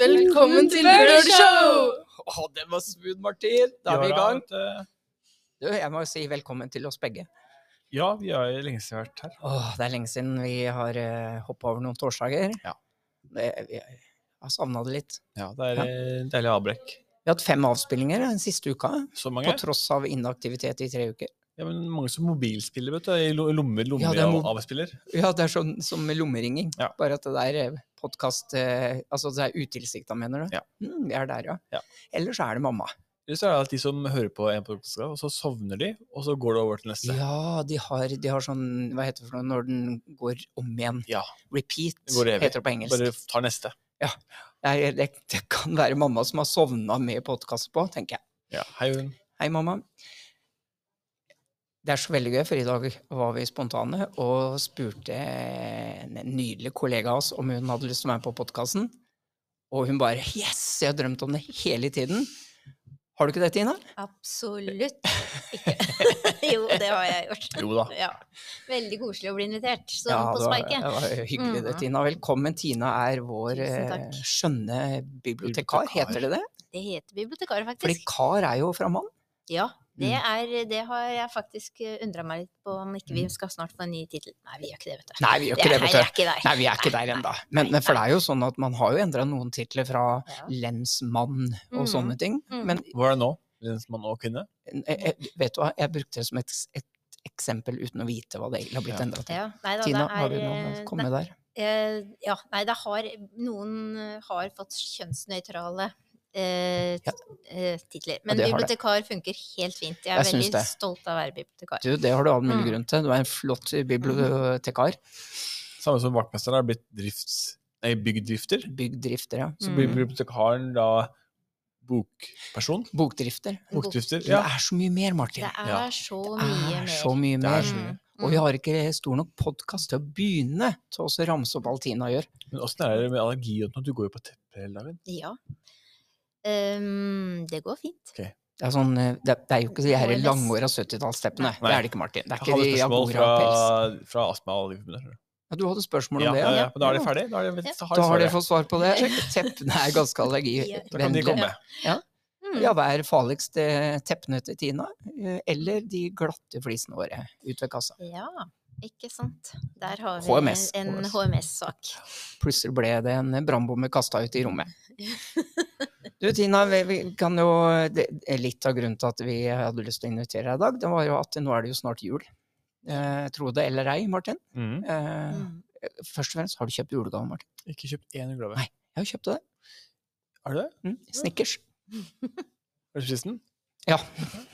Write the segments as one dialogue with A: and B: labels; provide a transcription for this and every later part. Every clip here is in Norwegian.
A: Velkommen til Lørdagsshow!
B: Å, det var smooth, Martin. Da er vi i
C: Ja,
B: gang.
C: vet du.
B: Du, jeg må jo si velkommen til oss begge.
C: Ja, vi har jo lenge siden vært her.
B: Åh, det er lenge siden vi har uh, hoppa over noen torsdager.
C: Ja.
B: Det, vi, jeg har savna det litt.
C: Ja, Det er eh, deilig avbrekk.
B: Vi har hatt fem avspillinger den siste uka,
C: Så
B: på
C: mange.
B: tross av inaktivitet i tre uker.
C: Ja, men mange som mobilspiller, vet du. I lo- lommer, lommer
B: Ja, det er
C: av-
B: mo-
C: avspiller.
B: Ja, det er sånn som med lommeringing,
C: Ja.
B: bare at det er podkast Altså det er utilsikta, mener du?
C: Ja.
B: Mm, vi er der, ja.
C: Ja.
B: Ellers er det mamma.
C: Eller så er det at de som hører på en podcast, og så sovner de, og så går det over til neste.
B: Ja, de har, de har sånn Hva heter det for noe når den går om igjen?
C: Ja.
B: Repeat,
C: Går evig.
B: heter det på engelsk.
C: Bare tar neste.
B: Nei, det, det kan være mamma som har sovna med podkast på, tenker jeg.
C: Ja, Hei, hun.
B: Hei, mamma. Det er så veldig gøy, for i dag var vi spontane og spurte en nydelig kollega av oss om hun hadde lyst til å være med på podkasten. Og hun bare 'Yes, jeg har drømt om det hele tiden'. Har du ikke det, Tina?
A: Absolutt ikke. jo, det har jeg gjort.
C: Jo da.
A: Ja. Veldig koselig å bli invitert sånn på
B: det var,
A: sparket.
B: det var hyggelig det,
A: Mm.
B: Tina. Velkommen. Tina er vår
A: Tusen
B: eh,
A: takk.
B: skjønne bibliotekar,
C: Bibliotekar.
B: heter det det?
A: Det heter bibliotekar,
B: Fordi
A: faktisk.
B: kar er jo fra mann.
A: Ja, det,
B: Mm.
A: er, det har jeg faktisk undra meg litt på om ikke vi skal snart få en ny tittel. Nei, vi gjør ikke det, vet du.
B: Nei, vi gjør
A: Det
B: ikke det,
A: er-
B: vet du.
A: er ikke der.
B: Nei, vi er ikke der
A: nei,
B: ennå. Men, men for det er jo sånn at man har jo endra noen titler fra
A: Ja.
B: lensmann og
A: Mhm,
B: sånne ting.
A: mhm.
B: Men
C: Hvor er det nå? Lensmann og kvinne?
B: eh, eh, vet du hva, jeg brukte det som et, et eksempel uten å vite hva det egentlig har blitt
C: Ja.
B: endra til.
A: Ja, nei, da,
B: Tina,
A: det
B: har du
A: er,
B: noe
A: eh,
B: kommet der?
A: Eh, ja, nei, det har Noen eh, har fått kjønnsnøytrale eh, t- eh, titler. Men
B: det har det.
A: bibliotekar funker helt fint. Jeg er
B: Jeg syns
A: veldig
B: det.
A: stolt av å være bibliotekar.
B: Du, det har du all mulig
A: Mm.
B: grunn til. Du er en flott bibliotekar.
C: Samme som vaktmesteren har blitt drifts... Nei, byggdrifter.
B: Byggdrifter, ja.
C: Så
A: Mm.
C: blir bibliotekaren da bokperson.
B: Bokdrifter.
C: Bokdrifter.
B: Det
C: Ja.
B: er så mye mer,
A: Det
B: Martin.
A: er
C: Ja.
A: så
B: Det
A: mye
B: er
A: mer.
B: så mye
C: Det
B: mer.
C: er så
A: Mm,
B: Og vi
A: mm.
B: har ikke stor nok podkast til å begynne til å ramse opp alt Tina gjør.
C: Men åssen er det med allergi og sånt? Du går jo på teppet hele dagen.
A: Ja. Ehm, det går fint.
B: Det er, sånn, eh, det, det er jo ikke de her
A: HMS.
B: langåra 70-tallsteppene. Det
C: Nei.
B: er det ikke, Martin. Det er
C: Jeg
B: ikke
C: hadde
B: de
C: spørsmål
B: Agora
C: fra,
B: og Pels.
C: fra Astma og Allergiforbundet.
B: Ja, du hadde spørsmål om
C: Ja,
B: det,
C: ja,
B: ja?
C: ja. Men da er de
B: Ja.
C: ferdig? Da, er de,
A: Ja.
C: da
B: Da har dere
C: svaret.
B: fått svar på det. Teppene er ganske
C: Da kan de
B: allergivennlige.
C: komme.
A: Mm.
B: Ja, hva er farligst? eh, Teppene til Tina, eh, eller de glatte flisene våre ut ved kassa?
A: Mm, Ja, ikke sant. Der har vi
B: HMS,
A: en
B: HMS.
A: HMS-sak.
B: Plutselig ble det en brannbombe kasta ut i rommet. Du Tina, vi, vi kan jo, det, er litt av grunnen til at vi hadde lyst til å invitere deg i dag, det var jo at nå er det jo snart jul. Eh, tro det eller ei, Martin.
C: Mm.
B: Eh,
A: Mm.
B: Først og fremst, har du kjøpt julegave, Martin?
C: Ikke kjøpt én julegave.
B: Nei. Jeg har kjøpt det.
C: Er det det?
B: Mm. Snickers.
C: Er det fristen?
B: Ja,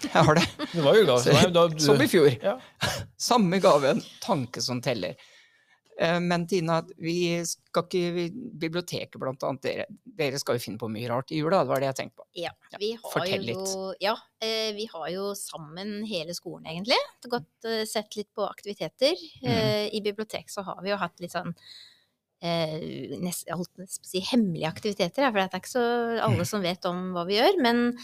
B: jeg har det.
C: Det var julegave.
B: Så-
C: Så, nei, da,
B: Som i fjor.
C: Ja.
B: Samme gaven, tanke som teller. Eh, Men Tina, vi skal ikke vi, Biblioteket, blant annet. Dere, dere skal jo finne på mye rart i jula, det var det jeg tenkte på. Ja,
A: Vi har
B: fortell
A: jo,
B: litt.
A: Ja, eh, vi har jo sammen hele skolen egentlig gått eh, sett litt på aktiviteter.
B: Mm.
A: Eh, I bibliotek så har vi jo hatt litt sånn eh, nest, jeg holdt nesten på å si hemmelige aktiviteter, ja, for det er ikke så alle
B: Mm.
A: som vet om hva vi gjør. Men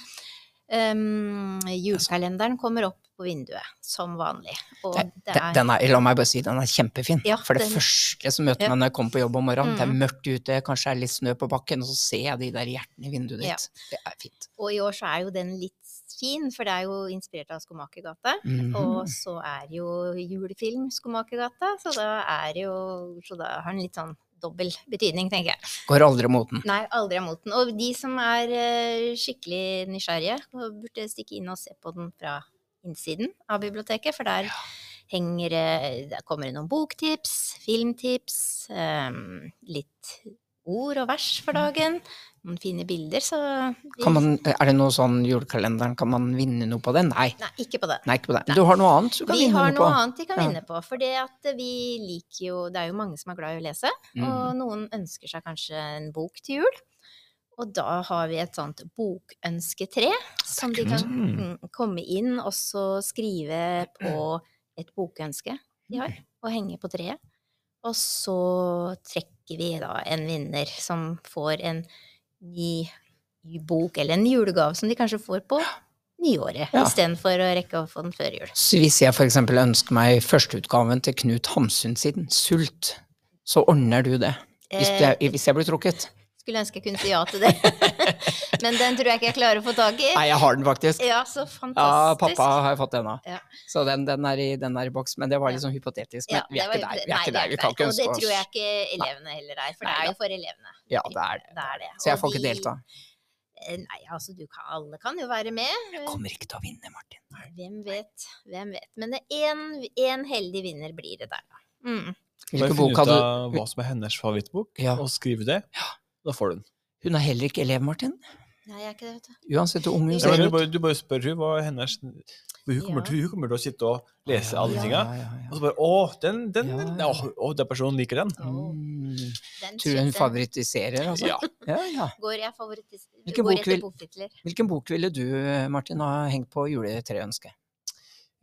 A: ehm, julekalenderen kommer opp på vinduet, som vanlig. Og det,
B: Den,
A: er
B: den er, la meg bare si, den er kjempefin.
A: Ja,
B: For det
A: den-
B: første som møter
A: Ja.
B: meg når jeg kommer på jobb om morgenen, det er
A: Mm.
B: mørkt ute, kanskje det er litt snø på bakken, og så ser jeg de der hjertene i vinduet
A: Ja.
B: ditt. Det er fint.
A: Og i år så er jo den litt fin, for det er jo inspirert av Skomakergata.
B: Mhm.
A: Og så er jo julefilm Skomakergata, så da er jo Så da har den litt sånn dobbel betydning, tenker jeg.
B: Går aldri mot den.
A: Nei, aldri av moten. Og de som er eh, skikkelig nysgjerrige, og burde stikke inn og se på den fra innsiden av biblioteket, for der henger det Der kommer det noen boktips, filmtips, eh, litt ord og vers for dagen, noen fine bilder, så
B: Kan man, er det noe sånn julekalenderen, kan man vinne noe på den? Nei.
A: Nei, ikke på det.
B: Nei, ikke på det. Du har noe annet du kan
A: Vi
B: vinne
A: har
B: noe på.
A: noe annet de kan
B: Ja.
A: vinne på. For det at vi liker jo Det er jo mange som er glad i å lese,
B: Mhm.
A: og noen ønsker seg kanskje en bok til jul. Og da har vi et sånt bokønsketre, som de kan
C: Mm.
A: mm, komme inn og så skrive på et bokønske de har, og henge på treet. Og så trekker vi da en vinner som får en ny bok, eller en julegave som de kanskje får på nyåret,
B: Ja.
A: istedenfor å rekke å få den før jul.
B: Så hvis jeg for eksempel ønsker meg førsteutgaven til Knut Hamsun sin Sult, så ordner du det? Hvis,
A: Eh,
B: det, hvis jeg blir trukket?
A: Skulle ønske jeg kunne si ja til det. Men den tror jeg ikke jeg klarer å få tak i.
B: Nei, jeg har den faktisk.
A: Ja, så
B: Ja,
A: eh, fantastisk.
B: pappa har jeg fått ennå.
A: Ja.
B: Så den, den, er i, den er i boks. Men det var
A: Ja.
B: liksom hypotetisk.
A: Ja,
B: Men vi er
A: det
B: ikke
A: var-
B: der. Vi er
A: nei,
B: ikke der. Vi kan
A: der.
B: ikke
A: Og det
B: ønske
A: tror jeg
B: oss
A: ikke elevene heller er, for det
B: Nei,
A: er
B: da.
A: jo for elevene.
B: Ja, det er det.
A: det, er det.
B: Så jeg
A: Og
B: får ikke
A: de-
B: delta.
A: Eh, Nei, altså du kan, alle kan jo være med.
B: Kommer ikke til å vinne, Martin.
A: Hvem vet, hvem vet. Men det er én heldig vinner blir det der, da. Mm.
B: Hvilken
C: finne
B: bok
C: ut
B: hadde du?
C: av hva som er hennes favorittbok,
B: Ja.
C: og skrive det. Da får du den.
B: Hun er heller ikke elev, Martin.
A: Nei, jeg er ikke det, vet du.
B: Uansett hvor ung hun
A: Ja,
C: Ja,
B: ser
C: men du,
B: ut.
C: bare, du bare spør henne hva er hennes for hun kommer,
A: Ja.
C: til, hun kommer til å sitte og lese alle
A: Ja.
C: tinga.
B: Ja, ja, ja.
C: Og så bare Å, den, den,
B: Ja,
C: den
B: ja.
C: Å, å, den personen liker den.
A: Åh,
B: Mm.
A: den
B: Tror du hun
A: kjente-
B: favoritiserer, altså?
C: Ja.
B: Ja, ja.
A: Går jeg favoritis...
B: Hvilken
A: går
B: bok vil-
A: etter boktitler?
B: Hvilken bok ville du, Martin, ha hengt på juletreønsket?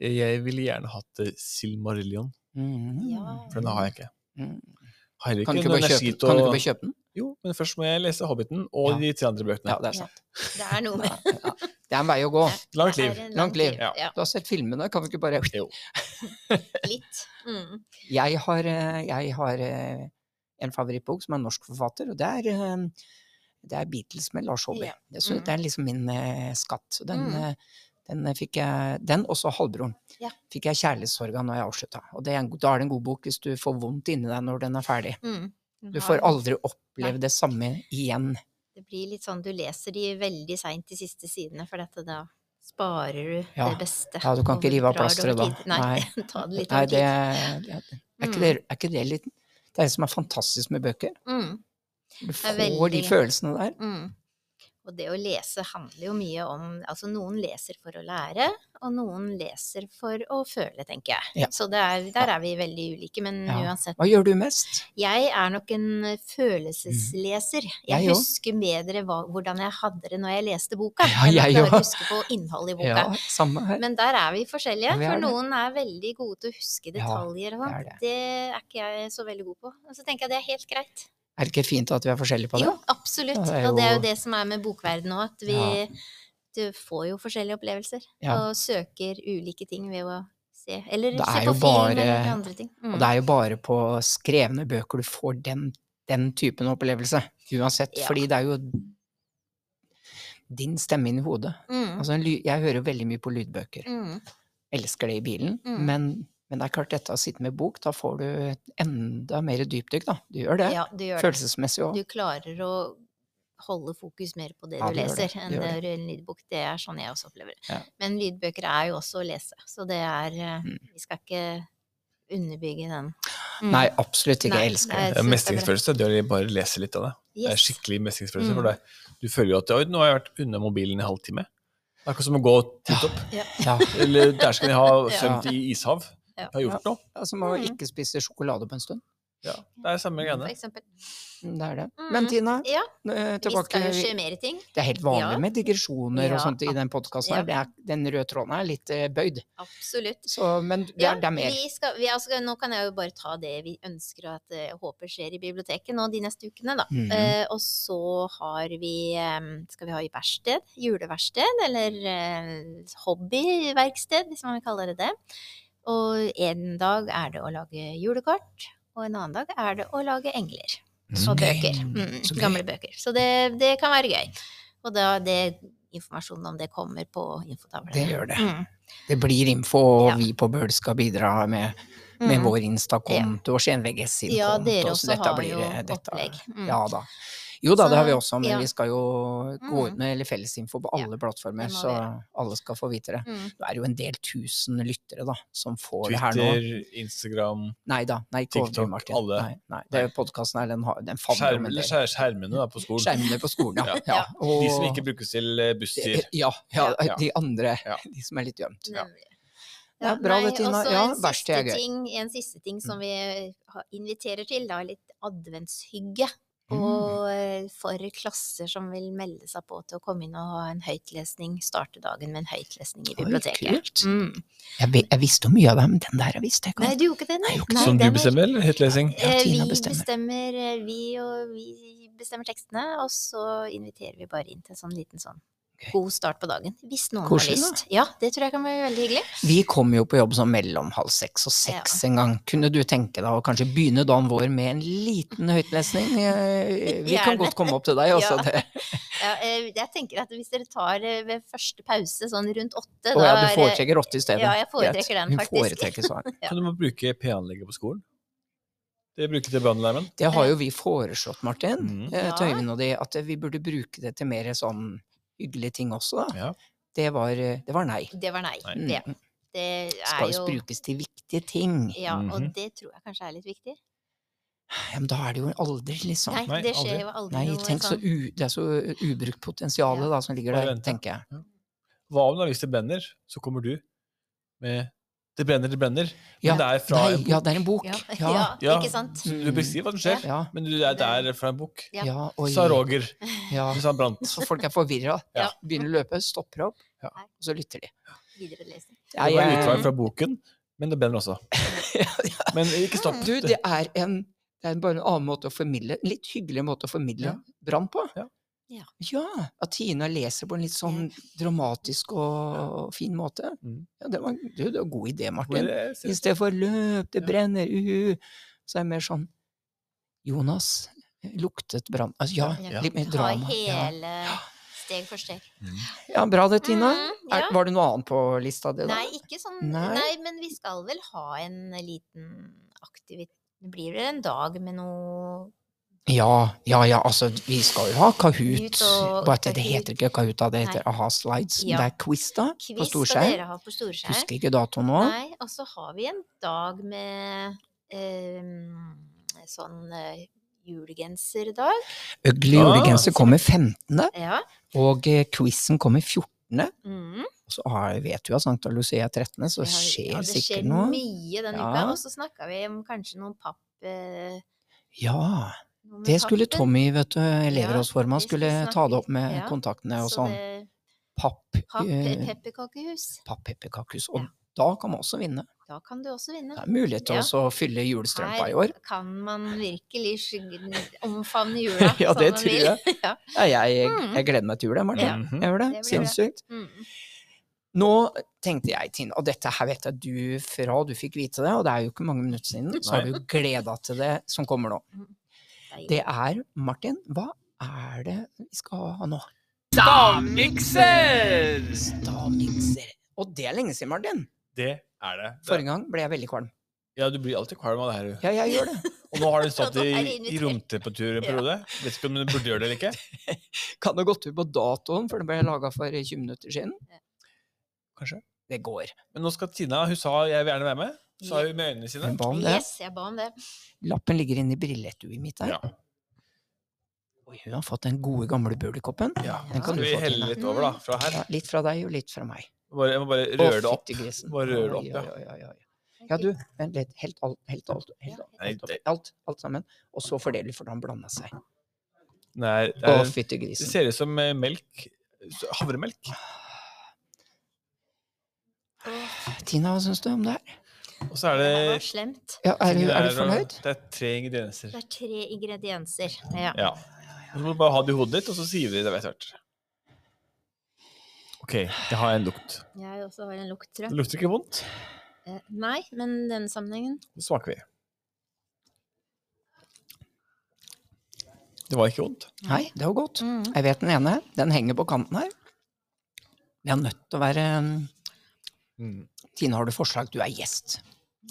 C: Jeg ville gjerne hatt eh, Silmarillion,
B: Mm.
A: Ja.
C: for den har jeg ikke.
B: Mm.
C: Har heller
B: Kan du ikke
C: noe
B: bare
C: energi
B: kjøpe,
C: til
B: kan du
C: å-
B: ikke bare kjøpe den?
C: Jo, men først må jeg lese Hobbiten og
B: Ja.
C: de tre andre bøkene.
B: Ja, det er
A: Ja.
B: sant.
A: Det er noe med
B: Ja, ja. Det er en vei å gå.
C: Langt
A: Det er
C: liv.
A: en
B: Langt liv.
A: Ja.
B: Du har sett filmene, kan vi ikke bare
C: Jo.
A: Litt. Mm.
B: Jeg har, eh, jeg har eh, en favorittbok som er en norsk forfatter, og det er, eh, det er Beatles med Lars Håby.
A: Ja.
B: Det, synes-
A: Mm.
B: det er liksom min eh, skatt. Så Den,
A: Mm.
B: eh, den eh, fikk jeg, den også halvbroren,
A: Ja.
B: fikk jeg kjærlighetssorg av når jeg avslutta. Og det er en, god- da er det en god bok hvis du får vondt inni deg når den er ferdig.
A: Mm. Den
B: Du får
A: har en-
B: aldri oppleve det samme igjen.
A: Det blir litt sånn, du leser de veldig seint de siste sidene, for dette da sparer du
B: Ja.
A: det beste.
B: Ja, du kan
A: og
B: ikke rive av
A: drar det over
B: plasteret da.
A: tid. Nei, ta det litt Mm.
B: Nei,
A: over
B: det,
A: tid.
B: det- er, ikke det, er ikke det litt Det er det som er fantastisk med bøker.
A: Mm,
B: Du
A: er
B: får de
A: veldig-
B: følelsene der.
A: mm. Og det å lese handler jo mye om Altså, noen leser for å lære, og noen leser for å føle, tenker jeg.
B: Ja.
A: Så det er, der er vi veldig ulike, men
B: Ja.
A: uansett.
B: Hva gjør du mest?
A: Jeg er nok en følelsesleser. Jeg
B: Mm. Jeg òg.
A: husker bedre hva, hvordan jeg hadde det når jeg leste boka,
B: Ja,
A: enn
B: jeg
A: jeg
B: òg.
A: klarer å huske på innholdet i boka.
B: Ja, samme her.
A: Men der er vi forskjellige,
B: Ja, vi er
A: for
B: det.
A: noen er veldig gode til å huske detaljer og
B: det
A: sånt.
B: er det.
A: Det er ikke jeg så veldig god på. Og så tenker jeg det er helt greit.
B: Er det ikke fint at vi er forskjellige på det?
A: Jo, absolutt.
B: Ja, det er
A: Og det er
B: jo-
A: jo det som er med bokverdenen òg, at vi
B: Ja.
A: du får jo forskjellige opplevelser.
B: Ja.
A: Og søker ulike ting ved å se. Eller
B: Det er
A: se
B: jo
A: på film
B: bare-
A: eller andre ting. Mm.
B: Og det er jo bare på skrevne bøker du får den, den typen opplevelse. Uansett.
A: Ja.
B: Fordi det er jo din stemme inni hodet.
A: Mm.
B: Altså, en ly- jeg hører jo veldig mye på lydbøker.
A: Mm.
B: Elsker det i bilen.
A: Mm.
B: Men, men det er klart, dette å sitte med bok, da får du et enda mer dypdykk, da. Du gjør det.
A: Ja, du gjør det.
B: Følelsesmessig òg.
A: Du klarer å holde fokus mer på det
B: Ja,
A: du
B: det gjør det.
A: leser,
B: Det
A: enn det
B: gjør
A: gjør i en lydbok. Det er sånn jeg også opplever det.
B: Ja.
A: Men lydbøker er jo også å lese, så det er eh,
B: Mm.
A: Vi skal ikke underbygge den. Mm.
B: Nei, absolutt ikke.
A: Nei,
B: Jeg elsker det.
A: Jeg
C: Det er
A: synes det er bra.
C: mestringsfølelse. Det er å bare lese litt av det. Det er
A: Yes.
C: skikkelig mestringsfølelse. For
A: Mm.
C: det. Du føler jo at Oi, nå har jeg vært unna mobilen i halvtime. Det er akkurat som å gå titt opp.
B: Ja.
C: Eller der skal jeg ha
A: Ja.
C: svømt i ishav.
A: Ja.
C: Jeg har gjort noe.
B: Det er Som å
A: Mm.
B: ikke spise sjokolade på en stund.
C: Ja, det er samme
A: For
C: greiene.
A: eksempel.
B: Det er det.
A: Mm.
B: Men Tina,
A: Ja,
B: eh,
A: vi
B: tilbake
A: skal jo skje mer ting.
B: Det er helt vanlig
A: Ja.
B: med digresjoner
A: Ja,
B: og sånt i den podkasten. her.
A: ja.
B: Det er- Den røde tråden er litt eh, bøyd,
A: Absolutt.
B: så, men det
A: Ja,
B: er, det er mer.
A: Vi skal, vi, altså, nå kan jeg jo bare ta det vi ønsker og at eh, håper skjer i biblioteket nå de neste ukene, da.
B: Mhm.
A: Eh, og så har vi eh, Skal vi ha i verksted? Juleverksted? Eller eh, hobbyverksted, hvis man vil kalle det det. Og en dag er det å lage julekort, og en annen dag er det å lage engler.
C: Så
A: Og
B: gøy.
A: bøker. Mm,
B: Så gøy.
A: gamle bøker. Så det, det kan være gøy. Og da det informasjonen om det kommer på infotavlene.
B: Det gjør det.
A: Mm.
B: Det blir info, og
A: Ja.
B: vi på Bøl skal bidra med, med
A: Mm.
B: vår Insta-konto og Skien-VGs sin
A: Ja,
B: konto.
A: dere
B: så
A: også
B: dette
A: har
B: blir,
A: jo
B: eh, dette-
A: opplegg. Mm.
B: Ja da. Jo da, det har vi
A: Så,
B: også, men
A: ja.
B: vi skal jo gå
A: Mm.
B: ut med fellesinfo på
A: Ja,
B: alle plattformer,
A: det må
B: så
A: vi gjøre.
B: alle skal få vite det.
A: Mm.
B: Det er jo en del tusen lyttere da, som får det her nå.
C: Twitter, Instagram,
B: Nei da, nei, ikke
C: TikTok,
B: overdriv, Martin.
C: alle.
B: Nei, nei. Det er jo podkasten her, den, har- den favner om
C: skjerm,
B: en
C: eller
B: del.
C: skjer- skjermene da, på skolen.
B: Skjermene på skolen, ja.
A: Ja.
B: Og-
C: De som ikke brukes til eh, busser.
B: Ja, ja,
C: Ja.
B: de andre.
C: Ja.
B: De som er litt gjemt.
C: Ja.
A: Nemlig.
B: Det er bra det, Tina. Ja,
A: altså, en
B: verksted er
A: siste
B: gøy.
A: Ting, en siste ting
B: Mm.
A: som vi har- inviterer til, da, er litt adventshygge.
B: Mm.
A: Og eh, for klasser som vil melde seg på til å komme inn og ha en høytlesning, starte dagen med en høytlesning i
B: Oi,
A: biblioteket.
B: kult.
A: Mm.
B: Jeg, vi- jeg visste jo mye av det, men den der jeg visste jeg ikke.
A: Nei, du gjorde ikke det, nei.
B: jeg gjorde ikke
A: Nei,
C: Som du
A: den er-
C: bestemmer, eller høytlesing?
B: Ja,
A: Eh,
B: Tina
A: vi
B: bestemmer.
A: bestemmer. eh, vi, og vi bestemmer tekstene, og så inviterer vi bare inn til en sånn liten sånn god start på dagen. Hvis noen
B: Koselig,
A: har
B: da.
A: lyst. Ja, det tror jeg kan være veldig hyggelig.
B: Vi kom jo på jobb sånn mellom halv seks og seks en gang. Kunne du tenke deg å kanskje begynne dagen vår med en liten høytlesning? Eh, Vi kan
A: Gjerne.
B: godt komme opp til deg, altså.
A: Ja.
B: Det.
A: Ja, eh, jeg tenker at hvis dere tar eh, ved første pause sånn rundt
B: Å ja,
A: åtte da
B: du
A: er det-
B: foretrekker åtte i stedet.
A: Ja, jeg foretrekker
B: Greit.
A: den,
B: Hun
A: faktisk.
B: foretrekker sånn.
A: Ja.
C: Kan du må bruke P-anlegget på skolen? Det bruker til brannalarmen.
B: Det har jo vi foreslått, Martin,
C: Mhm.
B: eh, til
A: Ja.
B: Øyvind og de, at vi burde bruke det til mer sånn hyggelige ting også. Da.
C: Ja.
B: Det, var, eh, det var nei.
A: Det var nei.
C: Nei.
B: Mm.
A: Det, det er
B: Skal jo
A: jo
B: brukes til viktige ting.
A: Ja,
C: Mhm.
A: og det tror jeg kanskje er litt viktig.
B: Ja, men da er det jo aldri, liksom.
A: Nei,
C: Nei,
A: det skjer
C: aldri.
A: jo aldri
B: Nei,
A: noe
B: tenk så
A: sånn.
B: u, det er så ubrukt potensial
A: Ja.
B: da, som ligger
C: Bare
B: der,
C: vente.
B: tenker jeg.
C: Hva om det er hvis det brenner, så kommer du med 'det brenner, det brenner', men
B: Ja,
C: det er fra
B: Nei,
C: en bok.
B: ja, det er en bok.
A: Ja,
B: Ja, Mm.
A: ja,
C: Ja.
A: ikke sant?
C: Så Du beskriver hva som skjer,
B: ja,
C: men du- det er det er fra en bok.
A: Ja.
B: ja, oi.
C: Sa Roger
B: Ja.
C: hvis han brant.
B: Så folk er forvirra.
A: Ja.
B: Begynner å løpe, stopper opp,
C: Ja.
B: og så lytter de.
A: Viderelesning.
C: Det var
B: Jeg-
C: utvalg fra boken, men det brenner også. Men ikke stopp.
B: Du, det er en det er bare en annen måte å formidle, en litt hyggelig måte å formidle
C: Ja.
B: brann på.
C: Ja.
A: Ja.
B: Ja, At Tina leser på en litt sånn dramatisk og fin måte.
C: Mm.
B: Ja, det var, du, det var en god idé,
C: Hvor
B: Martin.
C: er
B: I
C: det-
B: stedet for 'løp, det
C: Ja.
B: brenner, uhu', så er det mer sånn 'Jonas luktet brann' altså, Ja,
A: Ja.
B: litt mer
A: Ta
B: drama. Ja.
A: hele steg for steg.
B: ja, bra det, Tina.
A: Mhm,
B: Er,
A: ja.
B: var det noe annet på lista di, da?
A: Nei, ikke sånn
B: Nei.
A: nei. men vi skal vel ha en liten aktivitet Det blir vel en dag med noe
B: Ja, ja, ja, altså vi skal jo ha Kahoot.
A: Kahoot og-
B: Bare at det
A: Kahoot.
B: heter ikke Kahoot, da, det heter
A: Nei.
B: Aha Slides. men
A: Ja.
B: Det er quiz, da, på
A: quiz skal
B: storskjerm.
A: dere ha på storskjerm.
B: Husker ikke datoen nå.
A: Nei, og så har vi en dag med eh, sånn eh, julegenserdag.
B: Ugly
C: Ah.
B: julegenser kommer 15.,
A: Ja.
B: og eh, quizen kommer 14.
A: Mm.
B: Og så har- vet du at Sankta Lucia er 13., så
A: Vi
B: det
A: har-
B: skjer
A: ja, det skjer
B: sikkert noe.
A: mye den
B: Ja.
A: uka. Og så snakka vi om kanskje noen papp... eh,
B: Ja,
A: noe med
B: det skulle
A: pappen,
B: Tommy, vet du, elevrådsformann,
A: vi skulle
B: skulle ta det
A: snakke-
B: opp med
A: ja,
B: kontaktene og
A: så
B: sånn.
A: det-
B: Papp,
A: Papp,
B: eh,
A: pepperkakehus.
B: papp-pepperkakehus. Og
A: Ja.
B: da kan man også vinne.
A: Da kan du også vinne.
B: Det er mulighet til
A: Ja.
B: også å fylle julestrømpa i
A: Her
B: år.
A: kan man virkelig skygge- omfavne jula
B: Ja,
A: som
B: det
A: man
B: tror
A: vil.
B: jeg.
A: ja.
B: Ja, jeg,
A: Mm.
B: jeg gleder meg til jul, jeg, Martin.
C: Ja. Mhm.
B: Jeg gjør det.
A: Det blir bra.
B: Sinnssykt.
A: Mm.
B: Nå tenkte jeg, Tine, og dette her vet jeg du fra du fikk vite det, og det er jo ikke mange minutter siden, så har vi jo gleda til det som kommer nå.
A: Deilig.
B: Det er, Martin, hva er det vi skal ha nå?
D: Stavmikser!
B: Stavmikser. Og det er lenge siden, Martin.
C: Det er det. det.
B: Forrige gang ble jeg veldig kvalm.
C: Ja, du blir alltid kvalm av det her. du.
B: Ja, jeg gjør det.
C: Og nå har den stått
A: Nå
C: i,
A: er det invitert.
C: i romtemperatur en periode. Vet ikke om den burde gjøre det eller ikke.
B: Kan det gått ut på datoen, for det ble laga for 20 minutter siden?
C: Kanskje.
B: Det går.
C: Men nå skal Tina, hun sa jeg vil gjerne være med. Sa hun med øynene sine.
B: Men hva om det?
A: Yes, jeg ba om det.
B: Lappen ligger inni brillettui mitt der.
C: Ja.
B: Oi, hun har fått den gode, gamle bulikoppen.
C: ja.
B: Den kan
C: Skal
B: du
C: vi
B: få, Tina.
C: helle litt over, da? Fra her.
B: Ja, litt fra deg og litt fra meg.
C: Bare, jeg må bare
B: Å,
C: røre det opp.
B: fyttegrisen.
C: Bare røre det opp,
B: Oi,
C: ja.
B: oi, oi, oi, oi. Ja, du, vent litt. Helt alt, helt alt, helt alt,
C: Nei,
B: helt alt,
C: det-
B: alt, alt sammen. Og så fordeler vi for han blanda seg.
C: Nei, det,
B: Å,
C: er, det
B: fyttegrisen.
C: ser ut som eh, melk. Havremelk.
B: Tina, hva syns du om det her?
C: Og så er det
A: Det var slemt.
B: Ja, er, du- er
C: det
B: du fornøyd?
C: Det er tre ingredienser.
A: Det er tre ingredienser. Ja.
C: Ja. Og Så må du bare ha det i hodet ditt, og så sier vi det etter hvert. Ok, jeg har en lukt.
A: Jeg også har en lukt, tror
C: Det
A: jeg.
C: lukter ikke vondt.
A: Eh, Nei, men denne sammenhengen
C: Så smaker vi. Det var ikke vondt.
B: Nei, det var godt.
A: mm.
B: Jeg vet den ene. Den henger på kanten her. Vi er nødt til å være um, Tina, har du forslag? Du er gjest.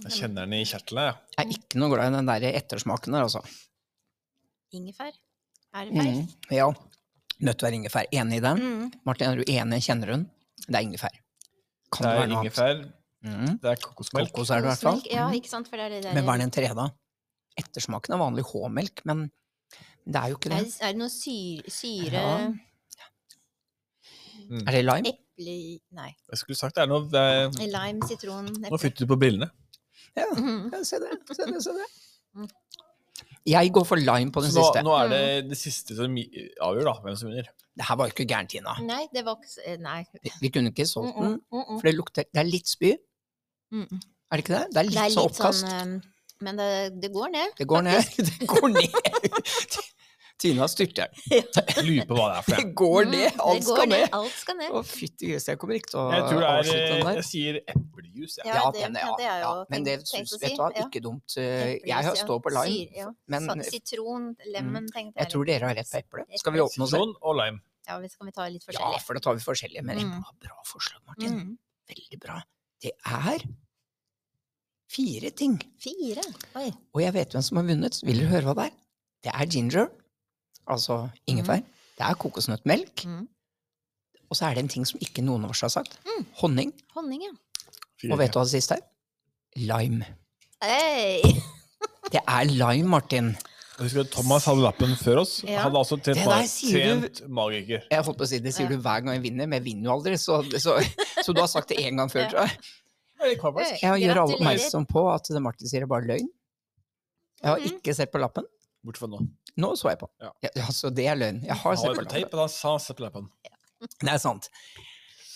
C: Jeg kjenner den i kjertlene. jeg.
B: Jeg er ikke noe glad i den der ettersmaken der, altså.
A: Ingefær. Er det feil?
B: Mm, ja. Nødt til å være ingefær. Enig i den?
A: Mm.
B: Martin, er du enig? Kjenner hun? Det er ingefær. Kan
C: Det
B: det,
C: er
B: være noe annet?
C: ingefær,
B: Mm.
C: det er kokosmelk.
B: Kokos er det i hvert fall.
A: Kokosmelk, Ja,
B: Mm.
A: ikke sant, for det er det der
B: Men hva er den tredje, da? Ettersmaken er vanlig H-melk, men det er jo ikke
A: Er
B: det.
A: det, er det noe syre, syre
B: Ja.
C: Mm.
B: Er det lime?
A: eple Nei.
C: Jeg skulle sagt det er noe det er,
A: Lime, sitron,
C: Nå
A: eple.
C: fytter du på brillene.
B: Ja,
A: Mm.
B: ja, se det, se det, se
A: Mm.
B: det. Jeg går for lime på den
C: Så Nå,
B: siste.
C: nå er det det siste som gi- avgjør da, hvem som vinner.
B: Det her var jo ikke gærent, Tina.
A: Nei, det var ikke s- eh, Nei.
B: Vi- Vi kunne ikke solgt den,
A: Mm, mm, mm,
B: for det lukter Det er litt spy,
A: mm, mm.
B: er det ikke det? Det er
A: Det er
B: litt sånn
A: litt sånn
B: oppkast.
A: eh, Men det, det går ned.
B: Det går ned. Det går ned. Tina styrter.
C: Lurer på hva det er for det.
B: Det går det!
A: Mm,
B: Alt
A: går
B: skal
A: ned,
B: ned!
A: Alt skal ned.
B: Å, fytti grisen, jeg kommer ikke til å
C: Jeg tror det er
B: avslutte
C: eh,
B: den der.
C: Jeg sier eplejus, jeg.
A: Ja,
B: Ja,
A: det
B: den, ja,
A: hadde jeg
B: ja.
A: jo
B: Men det
A: tenkt-
B: syns
A: tenkt å
B: Vet
A: si,
B: du hva,
A: ja.
B: ikke dumt.
A: Eplejus,
B: eh, Jeg har
A: ja.
B: stå på lime,
A: Syr- ja.
B: men Mm.
A: Sa- Sitron, lemon, tenkte
B: jeg
A: jeg.
B: tror dere har rett på eple. Skal vi åpne oss selv?
C: Sitron og lime.
A: Ja, vi skal vi ta litt
B: Ja,
A: forskjellig.
B: for da tar vi forskjellige. Men
A: Mm.
B: eple er bra forslag, Martin.
A: Mm.
B: Veldig bra. Det er fire ting.
A: Fire. Oi.
B: Og jeg vet hvem som har vunnet. Vil dere høre hva det er? Det er ginger, altså ingefær. Det er kokosnøttmelk.
A: Mm.
B: Og så er det en ting som ikke noen av oss har sagt.
A: Mm.
B: Honning.
A: Honning, ja.
C: Fire.
B: Og vet du hva det siste er? Lime.
A: Hey.
B: Det er lime, Martin.
C: Og Husker du, Thomas hadde lappen før oss.
A: Ja.
C: Han hadde altså trent,
B: Det der
C: ma-
B: sier du-
C: trent magiker.
B: Jeg holdt på å si, Det sier
A: Ja.
B: du hver gang jeg vinner, men jeg vinner jo aldri. Så, så, så du har sagt det én gang før, tror jeg.
C: Er det kvar,
B: Jeg
C: faktisk?
B: gjør alle
A: Gratulerer.
B: oppmerksom på at det Martin sier, er bare løgn. Jeg har
A: Mhm.
B: ikke sett på lappen.
C: Bort fra nå.
B: Nå så jeg på.
C: Ja.
B: Ja, altså, det er løgn. Jeg har
C: Han
B: sett
C: var
B: på
C: på
B: lappen.
C: teip, og han sa han sett på lappen.
B: Det er sant.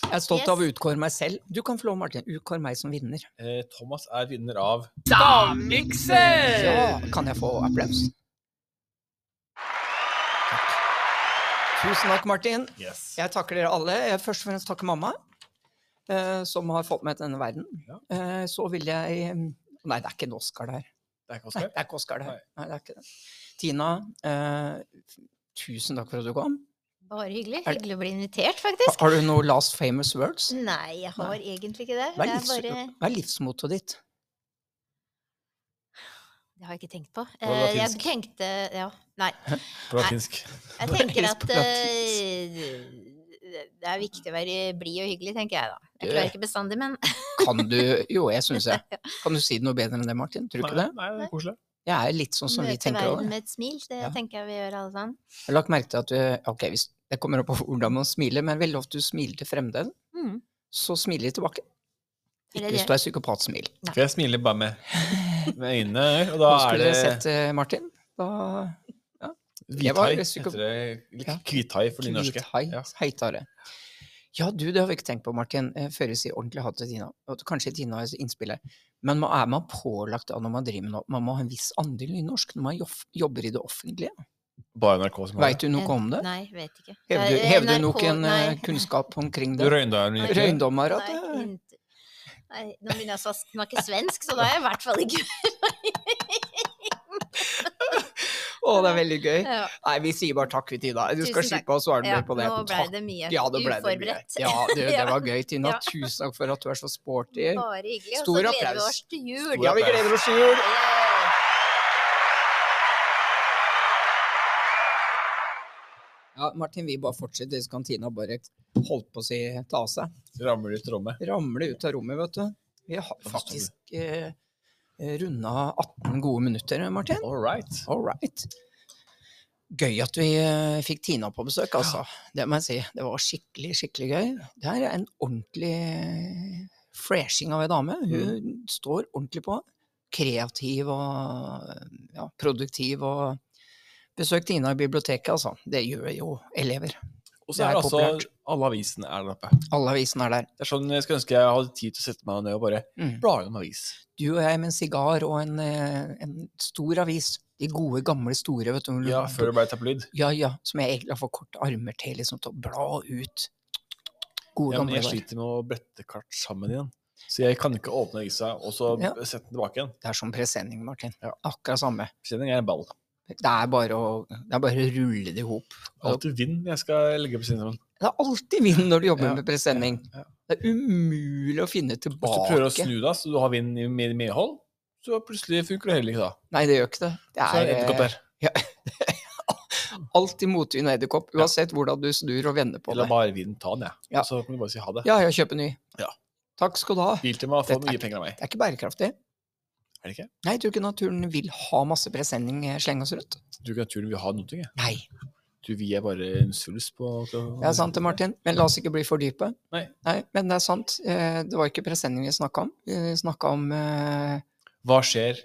B: Jeg er stolt
A: Yes.
B: av å utkåre meg selv. Du kan få lov, Martin. Utkår meg som vinner.
C: Eh, Thomas er vinner av
B: Ja, kan jeg få applaus? Tusen takk, Martin.
C: Yes.
B: Jeg takker dere alle. Jeg vil først og fremst takke mamma, eh, som har fått meg til denne verden.
C: Ja.
B: Eh, så vil jeg eh, Nei, det er ikke en Oscar der.
C: Det er ikke
B: Nei,
C: Oscar.
B: det er ikke Oscar der.
C: Nei.
B: Nei, det er ikke det. Tina, eh, tusen takk for at du kom.
A: Bare hyggelig.
B: Er det-
A: Hyggelig å bli invitert,
B: Ha-
A: faktisk.
B: Har du noen last famous words?
A: Nei, jeg har
B: Nei.
A: egentlig ikke det.
B: Hva
A: Det
B: er,
A: er
B: livs,
A: bare
B: hva er livsmottoet ditt?
A: Det har jeg ikke tenkt på.
C: På
A: Eh, Jeg
C: latinsk.
A: tenkte Ja, nei.
C: På latinsk.
A: Jeg
B: Hva er
A: tenker
B: helst
A: at
B: på
A: eh, det er viktig å være blid og hyggelig, tenker jeg da. Jeg
B: Du-
A: klarer ikke bestandig, men
B: Kan du Jo, jeg syns jeg. Kan du si det noe bedre enn det, Martin? Tror du ikke det?
C: Nei, det er koselig.
B: Jeg er litt sånn som vi
A: møte
B: tenker over.
A: verden med et smil, det
B: Ja.
A: tenker jeg vi gjør alle sammen.
B: Jeg har lagt merke til at du Ok, hvis det kommer opp på hvordan man smiler, men veldig ofte du smiler til fremmede,
A: Mm.
B: så smiler de tilbake.
A: Eller
B: Ikke hvis
A: det-
B: du er psykopatsmil.
C: For jeg smiler bare med, med øynene, og da
B: Nå
C: er
B: skulle
C: det
B: dere sett eh, Martin. Da jeg var
C: hvithai.
B: psyko-
C: Heter det
B: Ja.
C: kvithai for nynorske?
B: Hvithai.
C: Ja.
B: Heitare. Ja, du, det har vi ikke tenkt på, Martin, eh, før vi sier ordentlig ha det til Tina. Og Kanskje Tina har innspill her. Men man er man pålagt av når man driver med noe, man må ha en viss andel nynorsk når man joff- jobber i det offentlige?
C: Bare NRK som har det.
B: Veit du noe om det?
A: Eh, Nei, vet ikke.
B: Hever du,
A: Eh,
B: hever du
A: NRK
B: noen eh,
A: nei.
B: kunnskap omkring
C: Du
B: det?
C: røynda den ikke?
B: Røyndommer at
A: Nei,
B: det
A: int- Nei, nå begynner jeg å snakke svensk, så da er jeg i hvert fall ikke
B: Å, det er veldig gøy.
A: ja.
B: Nei, vi sier bare takk, vi, Tina. Du skal
A: Tusen takk.
B: slippe å svare mer
A: Ja,
B: på det.
A: Nå ble
B: Takk.
A: det mye
B: Ja, det ble det mye.
A: uforberedt.
B: Ja, det, det
A: Ja.
B: var gøy, Tina.
A: Ja.
B: Tusen takk for at du er så sporty.
A: Bare hyggelig. Og
B: Stor
A: så gleder vi
B: applaus.
A: oss til jul.
B: Ja, vi gleder oss til jul!
A: Yeah.
B: Ja, Martin, vi bare fortsetter, så kan Tina bare holdt på å si ta av seg.
C: Ramler ut rommet.
B: Ramle ut av rommet, vet du. Vi har
C: forstår
B: faktisk eh, runda 18 gode minutter, Martin.
C: All right.
B: All right. Gøy at vi eh, fikk Tina på besøk, altså. Det må jeg si. Det var skikkelig, skikkelig gøy. Det her er en ordentlig eh, freshing av ei dame. Hun
C: Mm.
B: står ordentlig på. Kreativ og eh, ja, produktiv og Besøk Tina i biblioteket, altså. Det gjør jo elever. Det
C: Og så
B: er
C: er altså
B: populært.
C: alle avisene er der oppe.
B: Alle avisene er der.
C: Det er sånn jeg skulle ønske jeg hadde tid til å sette meg ned og bare
B: Mm.
C: bla i en avis.
B: Du og jeg med en sigar og en, eh, en stor avis. De gode, gamle, store, vet du.
C: Ja, før det ble tabloid.
B: Ja, ja, som jeg egentlig har for korte armer til, liksom, til å bla ut. Gode,
C: Ja, men
B: gamle
C: jeg
B: dager.
C: sliter med å brette kart sammen igjen. Så jeg kan ikke åpne avisa og så
B: Ja.
C: sette den tilbake igjen.
B: Det er som presenning, Martin.
C: Ja.
B: Akkurat samme.
C: Sending er en ball.
B: Det er bare å, det er bare å rulle det i hop.
C: Alltid vinn når jeg skal legge på sendingen.
B: Det er alltid vind når du jobber
C: Ja,
B: med presenning.
C: ja, ja.
B: Det er umulig å finne
C: Hvis
B: tilbake.
C: du prøver å snu deg så du har vind i med- medhold, så plutselig funker det heller ikke da.
B: Nei, det gjør ikke det. Det
C: Så er det
B: eh,
C: edderkopp der.
B: alltid motvind og edderkopp, uansett hvordan du snur og vender på
C: Jeg lar
B: det.
C: bare vinden ta den, jeg.
B: Ja.
C: Og Så kan du bare si ha det.
B: Ja, ja, kjøp en ny.
C: Ja.
B: Takk skal du ha.
C: Biltema får
B: Dette er
C: mye
B: ikke-
C: penger av meg.
B: Det er ikke bærekraftig.
C: Er det ikke?
B: Nei, jeg tror ikke naturen vil ha masse presenning eh, slenge oss rundt.
C: Du tror ikke naturen vil ha noe, jeg.
B: Nei,
C: Du, vi er bare en svulst på
B: det er sant det, Martin. Men la oss ikke bli for dype.
C: Nei.
B: men det er sant. Eh, Det var ikke presenning vi snakka om. Vi snakka om eh,
C: Hva skjer?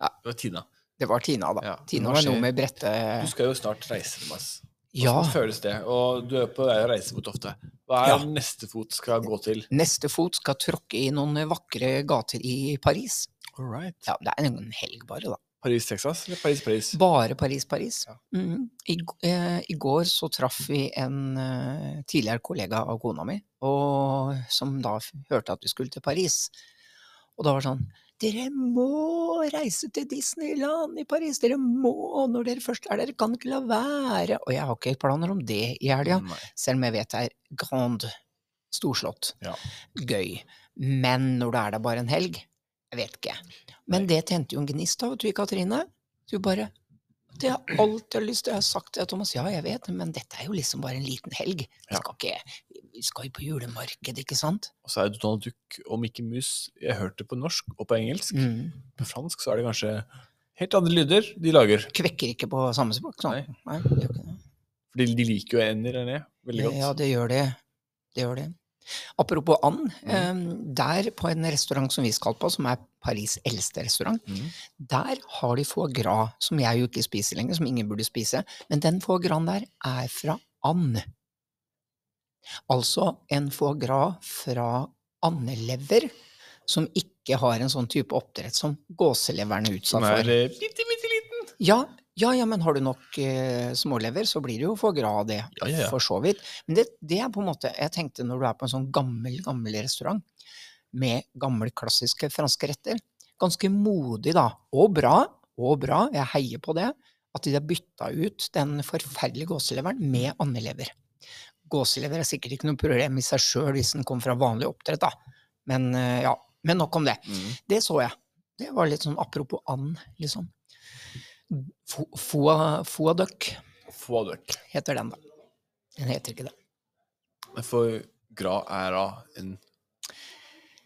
B: Ja.
C: Det var Tina.
B: Det var Tina, da.
C: Ja,
B: Tina
C: hva
B: var noe
C: skjer?
B: med brette...
C: Du skal jo snart reise, Thomas.
B: Ja,
C: Hvordan føles det? Og du er på vei å reise mot ofte. Hva
B: Ah.
C: er
B: Ja.
C: om neste fot skal gå til?
B: neste fot skal tråkke i noen vakre gater i Paris.
C: All right.
B: Ja, det er en helg bare, da.
C: Paris-Texas eller Paris-Paris?
B: Bare Paris-Paris.
C: Ja.
B: Mhm. I, g- eh, I går så traff vi en eh, tidligere kollega av kona mi, og, som da f- hørte at vi skulle til Paris. Og da var det sånn Dere må reise til Disneyland i Paris! Dere må! Når dere først er der, kan ikke la være! Og jeg har ikke planer om det i helga,
C: Mm, Nei.
B: selv om jeg vet det er grand, storslått,
C: Ja.
B: gøy. Men når det er der bare en helg, jeg vet ikke. Men
C: Nei.
B: det tente jo en gnist av, vet du, Katrine. Du bare Det har jeg alltid har lyst til. Jeg har sagt til Thomas ja, jeg vet, men dette er jo liksom bare en liten helg. Vi
C: Ja.
B: skal, ikke, vi skal jo på julemarked, ikke sant?
C: Og så er det Donald Duck og Mickey Mouse. Jeg hørte det på norsk og på engelsk.
B: Mm.
C: På fransk så er det kanskje helt andre lyder de lager.
B: Kvekker ikke på samme språk. Sånn. Nei. det gjør ikke det.
C: Fordi de liker jo ender eller veldig godt.
B: Ja, det gjør det. Det gjør det. Apropos and.
C: Mm.
B: eh, Der, på en restaurant som vi skal på, som er Paris' eldste restaurant,
C: Mm.
B: der har de foie gras, som jeg jo ikke spiser lenger, som ingen burde spise. Men den foie grasen der er fra and. Altså en foie gras fra andelever, som ikke har en sånn type oppdrett som gåseleveren er utsatt
C: Som er
B: for.
C: eh, bitte, bitte liten.
B: Ja, ja, ja, men har du nok eh, smålever, så blir det jo foie gras av det,
C: Ja, ja, ja.
B: for så vidt. Men det, det er på en måte Jeg tenkte når du er på en sånn gammel, gammel restaurant med gamle, klassiske franske retter Ganske modig, da. Og bra. Og bra. Jeg heier på det. At de har bytta ut den forferdelige gåseleveren med andelever. Gåselever er sikkert ikke noe problem i seg sjøl hvis den kommer fra vanlig oppdrett, da. Men eh, ja. Men nok om det.
C: Mm.
B: Det så jeg. Det var litt sånn apropos and, liksom. Fo- foa- Foaduck
C: Foie duck.
B: heter den, da. Den heter ikke det.
C: Men For gra er da en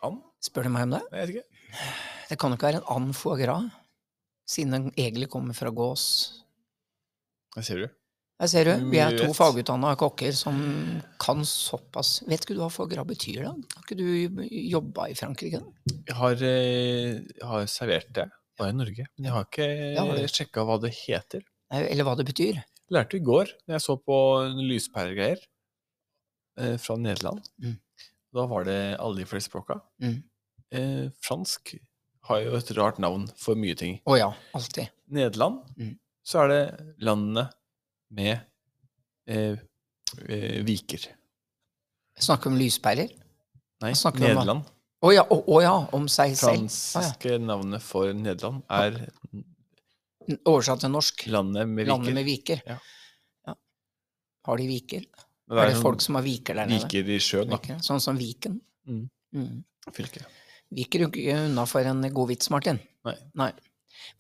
C: and?
B: Spør du meg om det?
C: Nei, jeg vet ikke.
B: Det kan jo ikke være en and foie gras, siden den egentlig kommer fra gås.
C: Der ser du.
B: Der ser du, vi er to
C: Mye vett.
B: fagutdanna kokker som kan såpass. Vet ikke du hva foie gras betyr, da? Har ikke du jobba i Frankrike? da?
C: Jeg har, eh, jeg har servert det bare i Norge, men jeg har
B: Ja, har
C: ikke
B: du.
C: sjekka hva det heter.
B: Nei, Eller hva det betyr?
C: lærte i går, når jeg så på en lyspæregreier eh, fra Nederland.
B: Mm.
C: Da var det alle de fleste språka.
B: Mm.
C: Eh, fransk har jo et rart navn for mye ting.
B: Å ja, alltid.
C: Nederland,
B: Mm.
C: så er det landene med eh, eh, viker.
B: Snakker om lyspærer?
C: Nei,
B: Hva snakker vi om da?
C: Nederland.
B: Å ja, å, å ja, om seg selv.
C: Franske navnet for Nederland er
B: Oversatt til norsk.
C: landet med
B: Landet
C: viker.
B: med viker.
C: Ja.
B: Ja. Har de viker?
C: Men
B: Er
C: jo
B: det folk som har viker der nede?
C: viker i sjøen, da.
B: Viker, Sånn som Viken?
C: Mm.
B: Mm.
C: Fylket.
B: Viker jo ikke unna for en god vits, Martin.
C: Nei.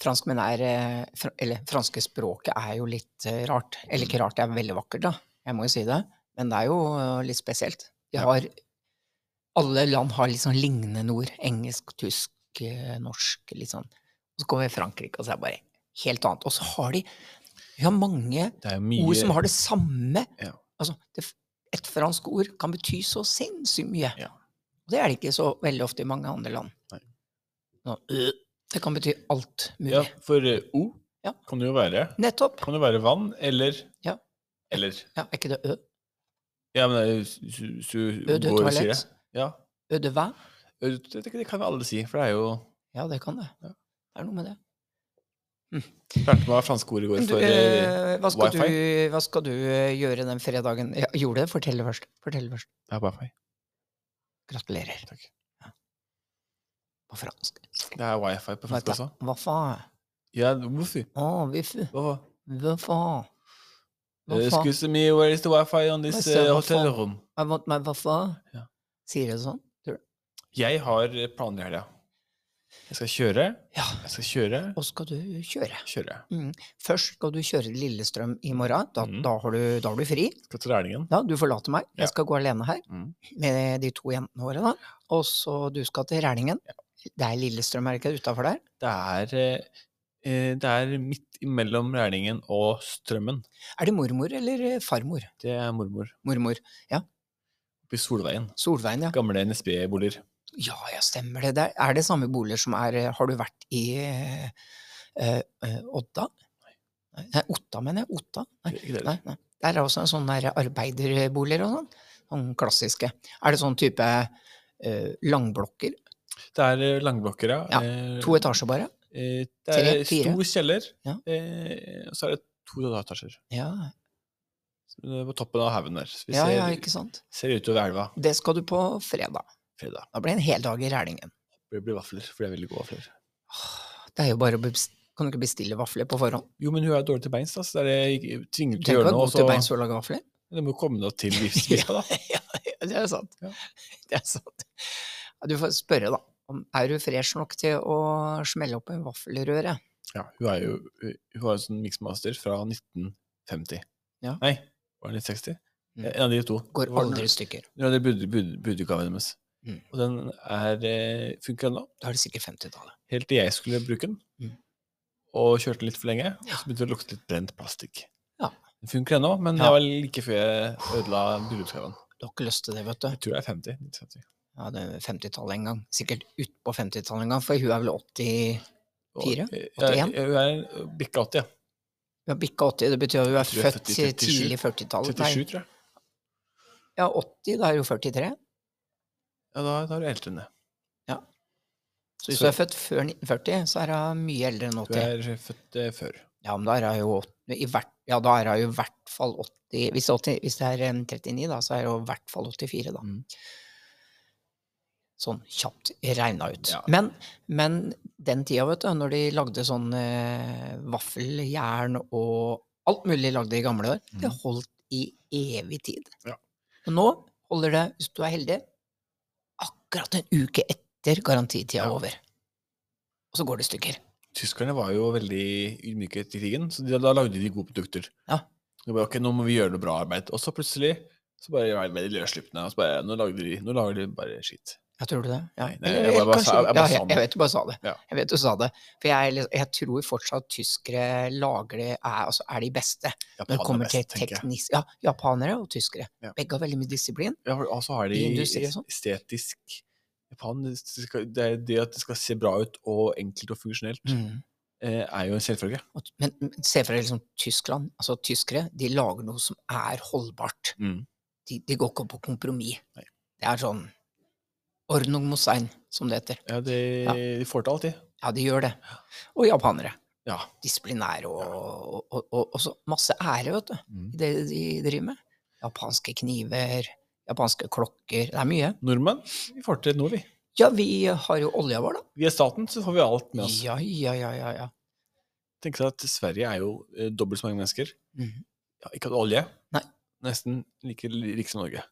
B: Franskmenn er eh, fra- Eller franske språket er jo litt eh, rart. Eller
C: Mm.
B: ikke rart, det er veldig vakkert, da. Jeg må jo si det. Men det er jo eh, litt spesielt. De
C: Ja.
B: har Alle land har litt sånn lignende ord. Engelsk, tysk, eh, norsk, litt sånn. Og så kommer Frankrike, og så er det bare helt annet. Og så har de Vi har mange
C: Det er jo
B: ord som
C: mye
B: har det samme.
C: Ja.
B: Altså, det, et fransk ord kan bety så sinnssykt mye.
C: Ja.
B: Og det er det ikke så veldig ofte i mange andre land.
C: Nei.
B: Nå, øh, det kan bety alt mulig.
C: Ja, for eh, O
B: Ja.
C: kan det jo være
B: Nettopp.
C: Kan det være vann eller
B: Ja.
C: Eller
B: Ja, er ikke det ø?
C: Ja, men det er jo s- s- s-
B: Ø de
C: går og sier det.
B: toalett?
C: Ja.
B: Ø de vin?
C: Ø, Det, det kan vi alle si, for det er jo
B: Ja, det kan det.
C: Ja.
B: Det er noe med det.
C: Lærte meg hva franske ord i går
B: Men Du,
C: for eh,
B: eh, hva, skal du,
C: wifi?
B: hva skal du eh, gjøre den fredagen? Ja, gjorde det? Fortell det først. Fortell det først.
C: ja, wifi.
B: Gratulerer.
C: Takk.
B: Ja. På fransk.
C: Det er wifi på fransk også.
B: Hva faen?
C: Ja, hvorfor?
B: Å, viffu.
C: Hvorfor?
B: Hva faen? Hva
C: Eh,
B: faen?
C: Excuse me, where is the wifi on this
B: Hva sier-
C: eh,
B: hva
C: hotel
B: faen?
C: room?
B: I want my waffle.
C: Ja.
B: Sier det sånn?
C: Jeg har eh, planer i helga. Jeg skal kjøre,
B: Ja.
C: jeg skal kjøre,
B: Og skal du kjøre?
C: kjøre.
B: Først skal du kjøre til Lillestrøm i morgen. Da,
C: Mhm.
B: da, har, du, da har du fri.
C: Skal til Rælingen.
B: Ja, du forlater meg.
C: Ja.
B: Jeg skal gå alene her
C: Mhm.
B: med de to jentene våre. da. Og så du skal til Rælingen. Det er Lillestrøm, er det ikke det? Utafor der?
C: Det er eh, eh, Det er midt imellom Rælingen og Strømmen.
B: Er det mormor eller eh, farmor?
C: Det er mormor.
B: Mormor.
C: Oppe i Solveien.
B: Solveien, ja.
C: Gamle NSB-boliger.
B: Ja, ja, stemmer det. Der. Er det samme boliger som er eh, Har du vært i eh, eh, eh, Odda? Nei. Nei, Otta, mener jeg. Otta. Nei.
C: Ikke det?
B: Nei, nei. Der er også en sånn der arbeiderboliger og sånn. Sånn klassiske. Er det sånn type eh, langblokker?
C: Det er eh, langblokker, ja.
B: Ja,
C: Eh,
B: To etasjer bare?
C: Eh, det er
B: Tre, fire.
C: stor kjeller,
B: Ja.
C: eh, og så er det to etasjer.
B: Ja,
C: Det er På toppen av haugen der. Så vi
B: ja,
C: ser,
B: ja, ikke sant.
C: ser utover elva
B: Det skal du på fredag.
C: fredag.
B: Da blir det en hel dag i Rælingen.
C: Det blir vafler, for det er veldig gode vafler.
B: Åh, Det er jo bare å bes- Kan du ikke bestille vafler på forhånd?
C: Jo, men hun er dårlig til beins, da, så det er jeg tvinger
B: Du trenger
C: til å gjøre
B: ikke
C: noe.
B: å gå til beins
C: Så
B: for å lage vafler.
C: du må komme deg til livsvisa, da.
B: Det er sant.
C: Ja.
B: Det er sant. Ja, Du får spørre, da. Om, er du fresh nok til å smelle opp en vaffelrøre?
C: Ja, hun er jo hun er jo sånn mixmaster fra 1950.
B: Ja.
C: Nei, var det 1960?
B: Mm.
C: En av de to.
B: Går
C: Det var
B: aldri
C: den-
B: i stykker.
C: Ja, det er bud- bud- budgave deres.
B: Mm.
C: Og den er, eh, funker ennå,
B: Da er det sikkert 50-tallet.
C: helt til jeg skulle bruke den.
B: Mm.
C: Og kjørte litt for lenge, og
B: Ja.
C: så begynte det å lukte litt brent plastikk.
B: Ja.
C: Den funker ennå, men
B: Ja.
C: det var like før jeg ødela bryllupsgaven.
B: Du har ikke lyst til det, vet du.
C: Jeg tror det er 50. 1950.
B: Ja, det er 50-tallet en gang. Sikkert utpå 50-tallet en gang, for hun er vel 80
C: Og-
B: Fire?
C: eh,
B: 81?
C: Jeg, jeg er bikka 80, ja.
B: Hun har bikka 80, det betyr at hun er
C: tror jeg er
B: født
C: født i 37.
B: tidlig 40-tallet.
C: 37,
B: Nei,
C: tror jeg.
B: Ja, 80, da er hun 43.
C: Ja, da, da er du eldre enn det.
B: Så hvis
C: Så-
B: du er født før 1940, så er hun mye eldre enn 80.
C: Du er født eh, før.
B: Ja, men da er hun jo åt- i hvert, ja, da er hun jo i hvert fall 80 hvis, 80 hvis det er em, 39, da, så er hun i hvert fall 84, da.
C: Mm.
B: Sånn kjapt regna ut.
C: Ja.
B: Men, men den tida, vet du, når de lagde sånn eh, vaffeljern og alt mulig de lagde i gamle år, det
C: Mhm.
B: holdt i evig tid.
C: Ja.
B: Og nå holder det, hvis du er heldig, akkurat en uke etter garantitida
C: Ja.
B: er over. Og så går det i stykker.
C: Tyskerne var jo veldig ydmyke etter krigen, så de, da lagde de gode produkter.
B: Ja.
C: Det var, ok, nå må vi gjøre noe bra arbeid. Og så plutselig så bare var de veldig løsslupne. Og så bare, nå lager de, nå lager de bare skitt.
B: Ja, tror du det? Ja.
C: Nei, nei,
B: Eller-
C: jeg bare-
B: eller
C: bare sa- jeg
B: kanskje-
C: bare
B: ja,
C: sa
B: jeg,
C: det.
B: jeg vet du bare sa det.
C: Ja.
B: Jeg vet du sa det. For jeg, er litt- jeg tror fortsatt tyskere lager det, er, altså er de beste når det
C: Japan
B: kommer
C: er best,
B: til
C: tenker jeg.
B: teknisk Ja, japanere og tyskere.
C: Ja.
B: Begge har veldig mye disiplin.
C: Ja, for- og så har de
B: i industri og sånn.
C: estetisk Japan, det skal- det, er det at det skal se bra ut og enkelt og funksjonelt,
B: Mm.
C: eh, er jo en selvfølge.
B: Og- Men, men se for deg liksom Tyskland. Altså tyskere, de lager noe som er holdbart. De, de går ikke på kompromiss.
C: Nei.
B: Det er sånn Ordnung mosein, som det heter.
C: Ja, de,
B: Ja.
C: de får til alt, de.
B: Ja, de gjør det. Og japanere.
C: Ja.
B: Disiplinære og, og, og, og, og så masse ære, vet du.
C: Mm.
B: i det de driver med. Japanske kniver, japanske klokker Det er mye.
C: Nordmenn, vi får til noe, vi.
B: Ja, vi har jo olja vår, da.
C: Vi er staten, så får vi alt med oss.
B: Ja, ja, ja, ja. ja. Mm.
C: Tenk deg at Sverige er jo eh, dobbelt så mange mennesker.
B: Mhm.
C: Ja, ikke hatt olje.
B: Nei.
C: Nesten like rik som Norge.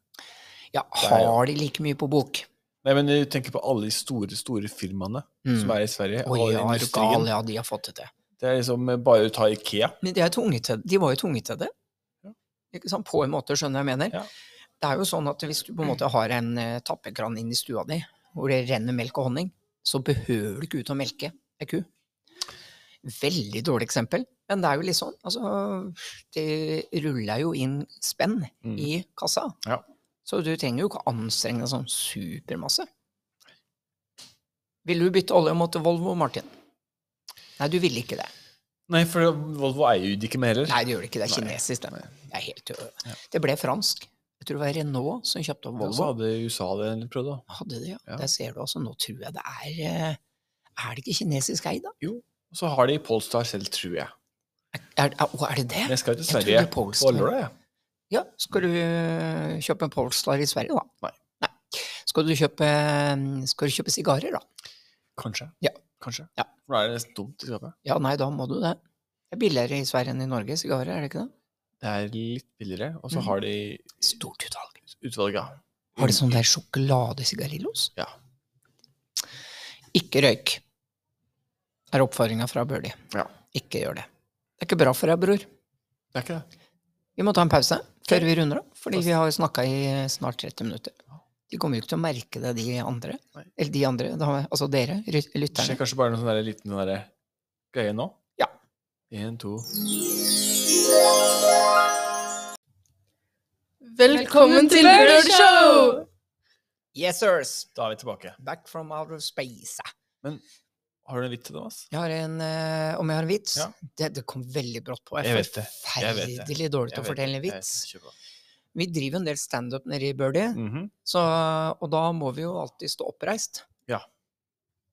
B: ja
C: er jo-
B: har de like mye på bok?
C: Nei, men du tenker på alle de store, store firmaene som
B: Mm.
C: er i Sverige.
B: Å
C: all
B: ja, er du
C: industrien.
B: gal? Ja, de har fått det til.
C: Det er liksom eh, bare å ta Ikea.
B: Men de, er tvunget til, de var jo tvunget til det.
C: Ja.
B: Ikke sant? På en måte, skjønner jeg mener.
C: Ja.
B: Det er jo sånn at hvis du på en måte har en eh, tappekran inn i stua di, hvor det renner melk og honning, så behøver du ikke ut og melke ei ku. Veldig dårlig eksempel, men det er jo litt sånn. Altså, det ruller jo inn spenn
C: Mm.
B: i kassa.
C: Ja.
B: Så du trenger jo ikke anstrenge deg sånn supermasse. Ville du bytte olje mot Volvo, Martin? Nei, du ville ikke det.
C: Nei, for Volvo eier jo de ikke mer heller.
B: Nei, det gjør det ikke. Det er
C: Nei.
B: kinesisk. Det,
C: Nei.
B: det, er helt, ø-
C: Ja.
B: det ble fransk. Jeg tror det var Renault som kjøpte opp
C: Og Så
B: Volvo.
C: hadde USA det en prøvd, da.
B: Hadde det, ja.
C: Ja.
B: Der ser du altså. Nå tror jeg det er eh, Er det ikke kinesisk eid, da?
C: Og så har de Polestar selv, tror jeg.
B: Er, er, å, er det det?
C: Men jeg skal til
B: Jeg tror
C: Sverige
B: det er
C: på
B: Polestar.
C: lørdag, jeg.
B: Ja. Skal du ø, kjøpe en Polestar i Sverige, da?
C: Nei.
B: Skal du kjøpe, øh, skal du kjøpe sigarer, da?
C: Kanskje.
B: Ja.
C: Kanskje.
B: Ja.
C: For da er det nesten tomt i skapet.
B: Ja, nei, da må du det. Det er billigere i Sverige enn i Norge, sigarer, er det ikke det?
C: Det er litt billigere, og så
B: Mhm.
C: har de
B: Stort utvalg.
C: utvalget. Mm. ja.
B: Har de sånn der sjokoladesigarillos?
C: Ja.
B: Ikke røyk, er oppfordringa fra Børli.
C: Ja.
B: Ikke gjør det. Det er ikke bra for deg, bror.
C: Det er ikke det.
B: Vi må ta en pause før vi runder av, fordi vi har snakka i snart 30 minutter. De kommer jo ikke til å merke det, de andre.
C: Nei.
B: Eller de andre, da, altså dere, ry-
C: Det
B: lytterne.
C: skjer kanskje bare en sånn der liten sånn der greie nå?
B: Ja.
C: En, to
A: Velkommen til Birdshow!
B: Yes, sirs!
C: Da er vi tilbake.
B: Back from out of space.
C: Har du en vits til Thomas?
B: Jeg har en, eh, om jeg har en vits?
C: Ja.
B: Det, det kom veldig brått på.
C: Jeg
B: er
C: vet det. Jeg vet det.
B: forferdelig dårlig til å fortelle en vits. Vi driver en del standup nede i Birdie, så, og da må vi jo alltid stå oppreist.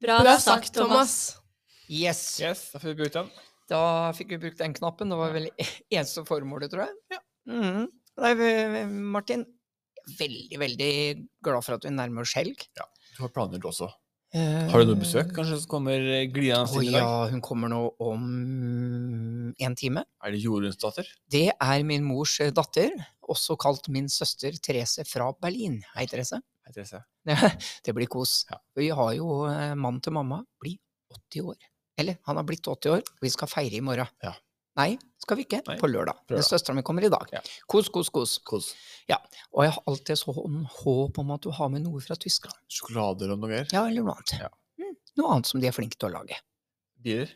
A: Bra sagt, Thomas.
B: Yes.
C: Yes, da får vi brukt den.
B: Da fikk vi brukt den knappen. Det var vel e-, eneste formålet, tror jeg. Mhm. Nei, vi- Martin. Veldig, veldig glad for at vi nærmer oss helg.
C: Du har planer du også. Har du noe
B: Eh,
C: besøk kanskje som kommer eh, glidende
B: Å
C: inn i dag?
B: ja, hun kommer nå om en time.
C: Er det Joruns datter?
B: Det er min mors eh, datter, også kalt min søster Therese fra Berlin. Hei, Therese.
C: Hei, Therese.
B: Det blir kos.
C: Ja.
B: Vi har jo eh, mannen til mamma blir 80 år. Eller, han har blitt 80 år, og vi skal feire i morgen.
C: Ja.
B: Nei, skal vi ikke.
C: Nei,
B: På lørdag.
C: lørdag.
B: Men søstera mi kommer i dag.
C: Ja.
B: Kos, kos, kos.
C: Kos.
B: Og jeg har alltid sånn håp om at du har med noe fra Tyskland.
C: Sjokolader og noe greier?
B: Ja, eller noe annet.
C: Ja.
B: Mm, noe annet som de er flinke til å lage.
C: Biler?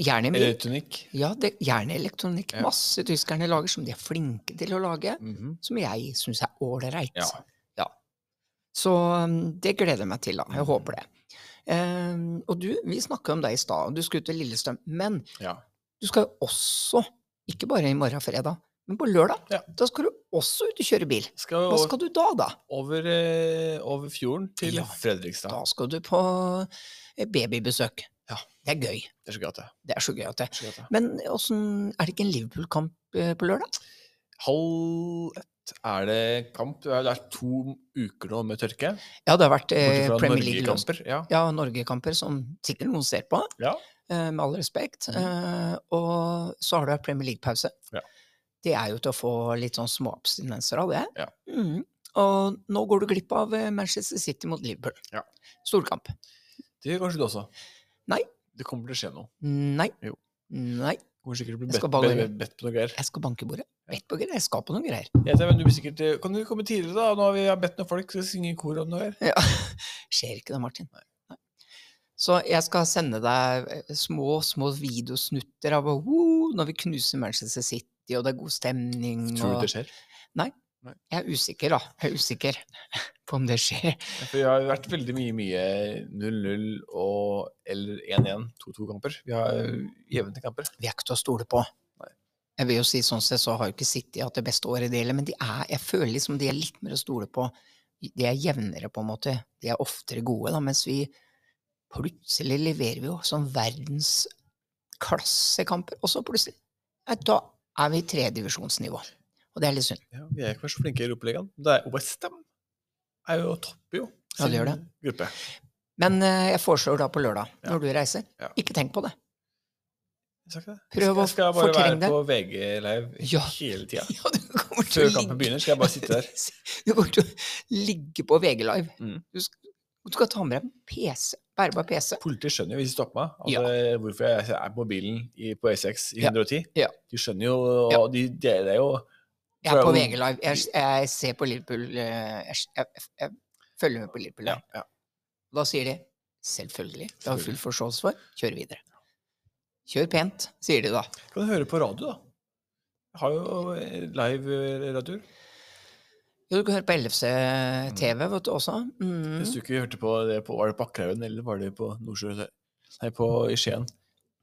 B: Gjerne mye.
C: Elektronikk?
B: Ja, det, gjerne elektronikk.
C: Ja.
B: Masse tyskerne lager som de er flinke til å lage,
C: Mhm.
B: som jeg syns er ålreit.
C: Ja.
B: Så um, det gleder jeg meg til, da. Jeg
C: Mm.
B: håper det. Ehm, og du, vi snakka om deg i stad, og du skulle til Lillestrøm. Men
C: ja.
B: du skal jo også, ikke bare i morgen fredag, men på lørdag,
C: Ja.
B: da skal du også ut og kjøre bil.
C: Skal
B: Hva
C: over,
B: skal du da, da?
C: over, eh, over fjorden til
B: Ja.
C: Fredrikstad.
B: Da skal du på eh, babybesøk.
C: Ja.
B: Det er gøy.
C: Det er så gøy at det.
B: Det er så gøy at det
C: er så gøy at det.
B: Men åssen Er det ikke en Liverpool-kamp eh, på lørdag?
C: Halv ett er det kamp. Det er, det er to uker nå med tørke.
B: Ja, det har vært
C: Bortsett
B: eh,
C: fra
B: Premier League-kamp.
C: Norge-kamper. Ja.
B: Ja, Norge-kamper som sikkert noen ser på.
C: ja.
B: eh, med all respekt.
C: Mhm.
B: eh, og så har du vært Premier League-pause.
C: Ja.
B: Det er jo til å få litt sånn småabstinenser av det.
C: Ja.
B: Mhm. Og nå går du glipp av eh, Manchester City mot Liverpool.
C: Ja.
B: Storkamp.
C: Det gjør kanskje du også.
B: Nei.
C: Det kommer til å skje noe.
B: Nei.
C: Jo.
B: Nei.
C: Det Kommer sikkert til å bli
B: Jeg skal
C: bedt,
B: bare-
C: bedt, bedt, bedt på noe greier.
B: Jeg skal banke i bordet. Vet på greier. Jeg skal på noen greier.
C: Jeg vet, men du blir sikkert, eh, kan du komme tidligere, da? Nå har vi bedt noen folk skal synge i kor om noe greier.
B: Ja. Skjer ikke det, Martin. Nei. Så jeg skal sende deg eh, små, små videosnutter av «Woo!» når vi knuser Manchester City, og det er god stemning.
C: Tror du
B: og...
C: det skjer?
B: Jeg er usikker, da. Jeg er usikker på om det skjer.
C: Ja, For vi har vært veldig mye mye 0-0 og eller 1-1, 2-2-kamper. Vi har jevne kamper.
B: Vi er ikke til å stole på.
C: Nei.
B: Jeg vil jo si sånn sett så har jo ikke City hatt det beste året i det heller, men de er, jeg føler liksom de er litt mer å stole på. De er jevnere, på en måte. De er oftere gode, da, mens vi plutselig leverer vi jo sånn verdensklassekamper, og så plutselig ja, Da er vi i tredivisjonsnivå. Og det er litt synd.
C: Ja, vi er ikke så flinke i Europaligaen. Det er Westham er jo topper jo
B: Ja, det gjør det.
C: sin gruppe.
B: Men eh, jeg foreslår da på lørdag,
C: Ja.
B: når du reiser,
C: Ja.
B: ikke tenk på det.
C: Jeg sa ikke det.
B: Prøv å
C: Jeg skal bare
B: fortrenge det.
C: være på VG live
B: Ja.
C: hele tida.
B: Ja, du kommer til å
C: Før
B: ligge-
C: kampen begynner, skal jeg bare sitte der.
B: Du kommer til å ligge på VG Live.
C: Mm.
B: Du, skal, du skal ta med deg en PC. Bærbar PC.
C: Politiet skjønner jo, hvis de stopper meg, at
B: Ja.
C: eh, hvorfor jeg er på mobilen i, på E6 i
B: Ja.
C: 110.
B: Ja.
C: De skjønner jo, og de deler jo
B: Jeg er på
C: Prøv-
B: VG Live. Jeg, jeg ser på Liverpool eh, Jeg, jeg, jeg følger med på Liverpool.
C: ja,
B: Live.
C: ja.
B: Da sier de selvfølgelig. Det har vi full forståelse for. Kjør videre. Kjør pent, sier de da.
C: Kan du høre på radio, da? Jeg har jo eh, live eh,
B: Mhm.
C: radioer.
B: Jo, du kan høre på LFC TV, eh, vet du også. Mm.
C: Hvis du ikke hørte på det på Var det på Akkerhaugen, eller var det på Nordsjø Nei, på i Skien.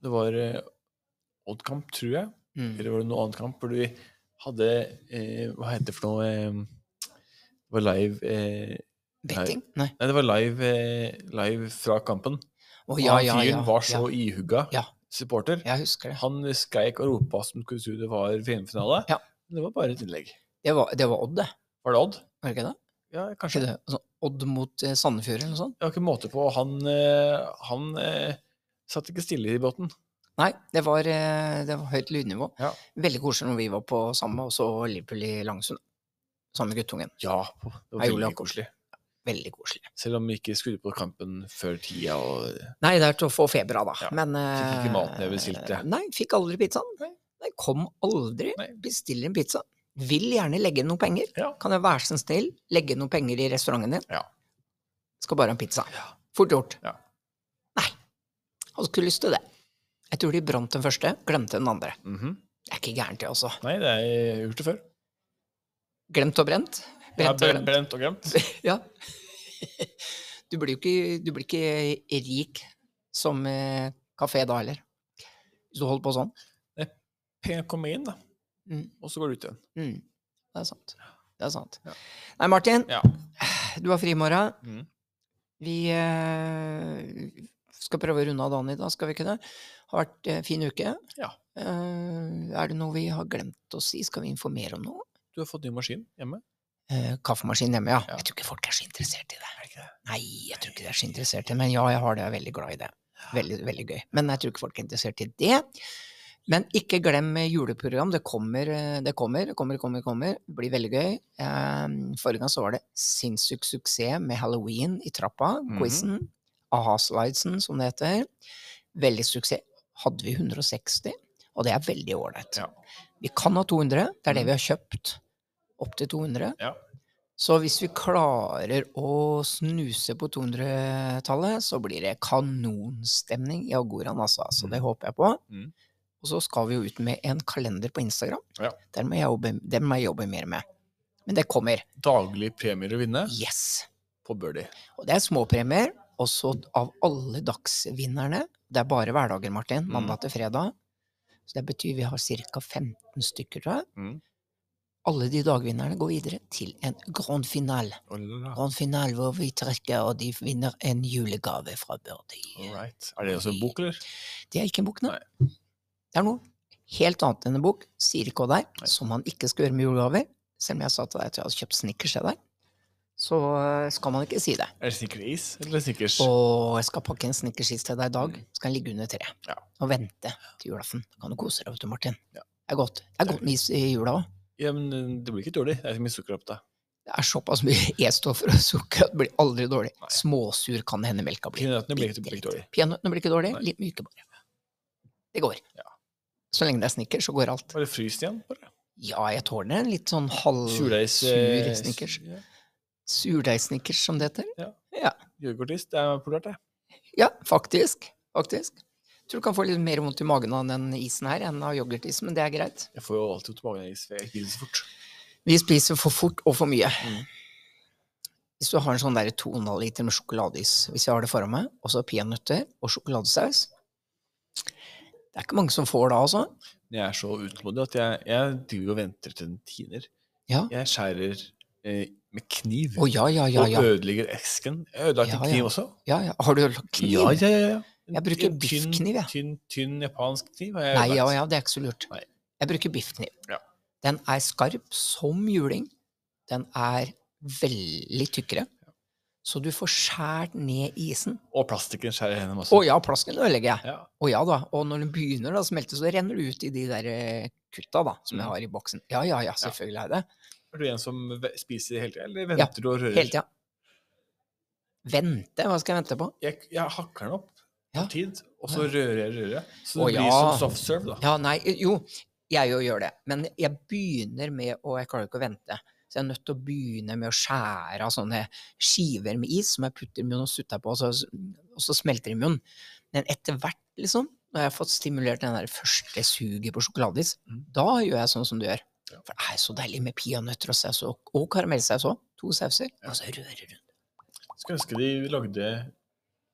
C: Det var eh, Oddkamp, tror jeg.
B: Mm.
C: Eller var det noe annet kamp? Hvor vi hadde eh, Hva heter det for noe eh, Det var live eh,
B: Betting? Nei.
C: Nei, det var live, eh, live fra kampen.
B: Å,
C: Og
B: ja,
C: han
B: ja,
C: fyren
B: ja.
C: var så
B: ja.
C: ihugga
B: Ja.
C: supporter.
B: Jeg husker det.
C: Han skreik og ropa som skulle tro det var VM-finale.
B: Ja.
C: Men det var bare et innlegg.
B: Det var, det var Odd, det.
C: Var det Odd?
B: Var det ikke det?
C: Ja,
B: Kanskje
C: kanskje.
B: det? Altså, Odd mot eh, Sandefjord eller noe sånt?
C: Jeg har ikke måte på. Han, eh, han eh, satt ikke stille i båten.
B: Nei, det var, eh, det var høyt lydnivå.
C: Ja.
B: Veldig koselig når vi var på samme, og så Liverpool i Langsund. Samme guttungen.
C: Ja, på- det var
B: Hei, Ole
C: veldig
B: Jakob.
C: koselig.
B: Veldig koselig.
C: Selv om vi ikke skrudde på kampen før tida og
B: Nei, det er til å få feber av, da.
C: Ja.
B: Men
C: Fikk ikke
B: eh,
C: maten jeg bestilte.
B: Nei, fikk aldri pizzaen. Nei, kom aldri.
C: Nei.
B: Bestiller en pizza. Vil gjerne legge inn noen penger.
C: Ja.
B: Kan jeg være så snill legge inn noen penger i restauranten din?
C: Ja.
B: Skal bare ha en pizza.
C: Ja.
B: Fort gjort.
C: Ja.
B: Nei. Hadde ikke lyst til det. Jeg tror de brant den første, glemte den andre.
C: Mhm.
B: Det er ikke gærent, det også.
C: Nei, det er jeg har gjort det før.
B: Glemt og brent?
C: Jeg
B: Brent
C: har
B: og
C: bre-
B: glemt.
C: brent og glemt.
B: Ja. Du blir jo ikke, du blir ikke rik som eh, kafé da heller. Hvis du holder på sånn.
C: Pengene kommer inn, da,
B: Mm.
C: og så går det ut igjen.
B: Mm. Det er sant. Det er sant.
C: Ja. Mm.
B: Nei, Martin,
C: Ja.
B: du har fri i morgen.
C: Mhm.
B: Vi eh, skal prøve å runde av dagen i dag, skal vi ikke det? Har vært en fin uke.
C: Ja.
B: Eh, er det noe vi har glemt å si? Skal vi informere om noe?
C: Du har fått ny maskin hjemme.
B: Eh, kaffemaskin hjemme, ja.
C: Ja.
B: Jeg tror ikke folk er så interessert i det. Nei, jeg tror ikke de er så interessert i det, men ja, jeg har det, jeg er veldig glad i det. Veldig, veldig gøy. Men jeg tror ikke folk er interessert i det. Men ikke glem eh, juleprogram. Det kommer, eh, det kommer, det kommer, det kommer. det kommer. Det blir veldig gøy. Eh, forrige gang så var det sinnssyk suksess med halloween i trappa,
C: Mhm.
B: quizen. Aha-slidesen, som det heter. Veldig suksess. Hadde vi 160, og det er veldig ålreit.
C: Ja.
B: Vi kan ha 200, det er det
C: Mhm.
B: vi har kjøpt. Opp til 200.
C: Ja.
B: Så hvis vi klarer å snuse på 200-tallet, så blir det kanonstemning i Agoraen, altså. Så det
C: Mm.
B: håper jeg på.
C: Mm.
B: Og så skal vi jo ut med en kalender på Instagram.
C: Ja.
B: Den må jeg jobbe, den må jeg jobbe mer med. Men det kommer.
C: Daglig premier å vinne
B: Yes!
C: på Birdie.
B: Og det er småpremier. Og så av alle dagsvinnerne Det er bare hverdager, Martin.
C: Mm.
B: Mandag til fredag. Så det betyr vi har ca. 15 stykker, tror jeg.
C: Mm.
B: Alle de dagvinnerne går videre til en grand finale.
C: Oh la la.
B: Grand finale hvor vi trekker, og de vinner en julegave fra
C: All
B: Birdie.
C: right. Er det også en bok, eller?
B: Det er ikke en bok, nei. Det er noe helt annet enn en bok, sier ikke hva det
C: Nei.
B: er, som man ikke skal gjøre med julegaver. Selv om jeg sa til deg at jeg hadde kjøpt snickers til deg, så eh, skal man ikke si det.
C: Er det Snickers is eller Snickers?
B: Og jeg skal pakke en snickerskis til deg i dag. Skal den ligge under treet
C: Mm. Ja.
B: og vente til julaften. Da kan du kose deg, vet du, Martin.
C: Ja.
B: Det er godt. Det er godt med is i jula òg.
C: Ja, men eh, det blir ikke dårlig. Det er så mye sukker oppi det.
B: Det er såpass mye E-stoffer og sukker at det blir aldri dårlig.
C: Nei.
B: Småsur kan det hende melka blir.
C: Peanøttene blir ikke- blir ikke dårlig.
B: Peanøttene blir ikke dårlig.
C: Nei.
B: Litt myke bare. Det går.
C: Ja.
B: Så lenge det er snickers, så går alt.
C: Var det fryst igjen? Bare?
B: Ja, jeg tåler en litt sånn halv...
C: Surdeigs...
B: Sur Snickers.
C: Ja.
B: Surdeigsnickers, som det heter.
C: Ja.
B: Ja.
C: Yoghurtis, det er populært, det.
B: Ja, faktisk. Faktisk. Tror du kan få litt mer vondt i magen av den isen her enn av yoghurtis, men det er greit.
C: Jeg får jo alltid vondt i magen av is, for jeg spiser så fort.
B: Vi spiser for fort og for mye.
C: Mm.
B: Hvis du har en sånn der 2,5 liter med sjokoladeis, hvis jeg har det foran meg, og så peanøtter og sjokoladesaus Det er ikke mange som får det, altså.
C: Jeg er så utålmodig at jeg, jeg driver og venter til den tiner.
B: Ja.
C: Jeg skjærer eh, med kniv
B: Å ja, ja, ja. ja.
C: og ødelegger esken. Jeg ødelagte
B: Ja,
C: en kniv
B: ja.
C: også.
B: ja, ja. Har du lagt kniv?
C: Ja, ja, ja. ja. En-
B: Jeg bruker
C: en tynn-
B: biffkniv, jeg.
C: Tynn, tynn japansk kniv har jeg
B: Eh, Nei, ja,
C: ødelagt.
B: ja, det er ikke så lurt.
C: Nei.
B: Jeg bruker biffkniv.
C: Ja.
B: Den er skarp som juling. Den er veldig tykkere. Så du får skjært ned isen.
C: Og plastikken skjærer hendene masse.
B: Å ja, plasken ødelegger jeg.
C: Ja.
B: Å ja da. Og når den begynner å smelte, så renner det ut i de der eh, kutta da, som
C: Mm.
B: jeg har i boksen. Ja, ja, ja, selvfølgelig er det.
C: Er du en som ve- spiser hele tida, eller venter du og rører?
B: Hele tida. Vente? Hva skal jeg vente på?
C: Jeg, jeg hakker den opp på
B: Ja.
C: tid, og så
B: Ja.
C: rører jeg rører jeg. Så det
B: Å,
C: blir
B: ja.
C: som soft serve, da.
B: Ja, nei, jo, jeg jo gjør det. Men jeg begynner med å Jeg klarer jo ikke å vente. Så jeg er nødt til å begynne med å skjære av sånne skiver med is som jeg putter i munnen og sutter på, og så, og så smelter det i munnen. Men etter hvert, liksom, når jeg har fått stimulert den der første suget på sjokoladeis, da gjør jeg sånn som du gjør.
C: Mm. Ja.
B: For det er så deilig med peanøtter og saus, og, og karamellsaus òg. To sauser.
C: Ja.
B: Og så rører rundt.
C: Skulle ønske de lagde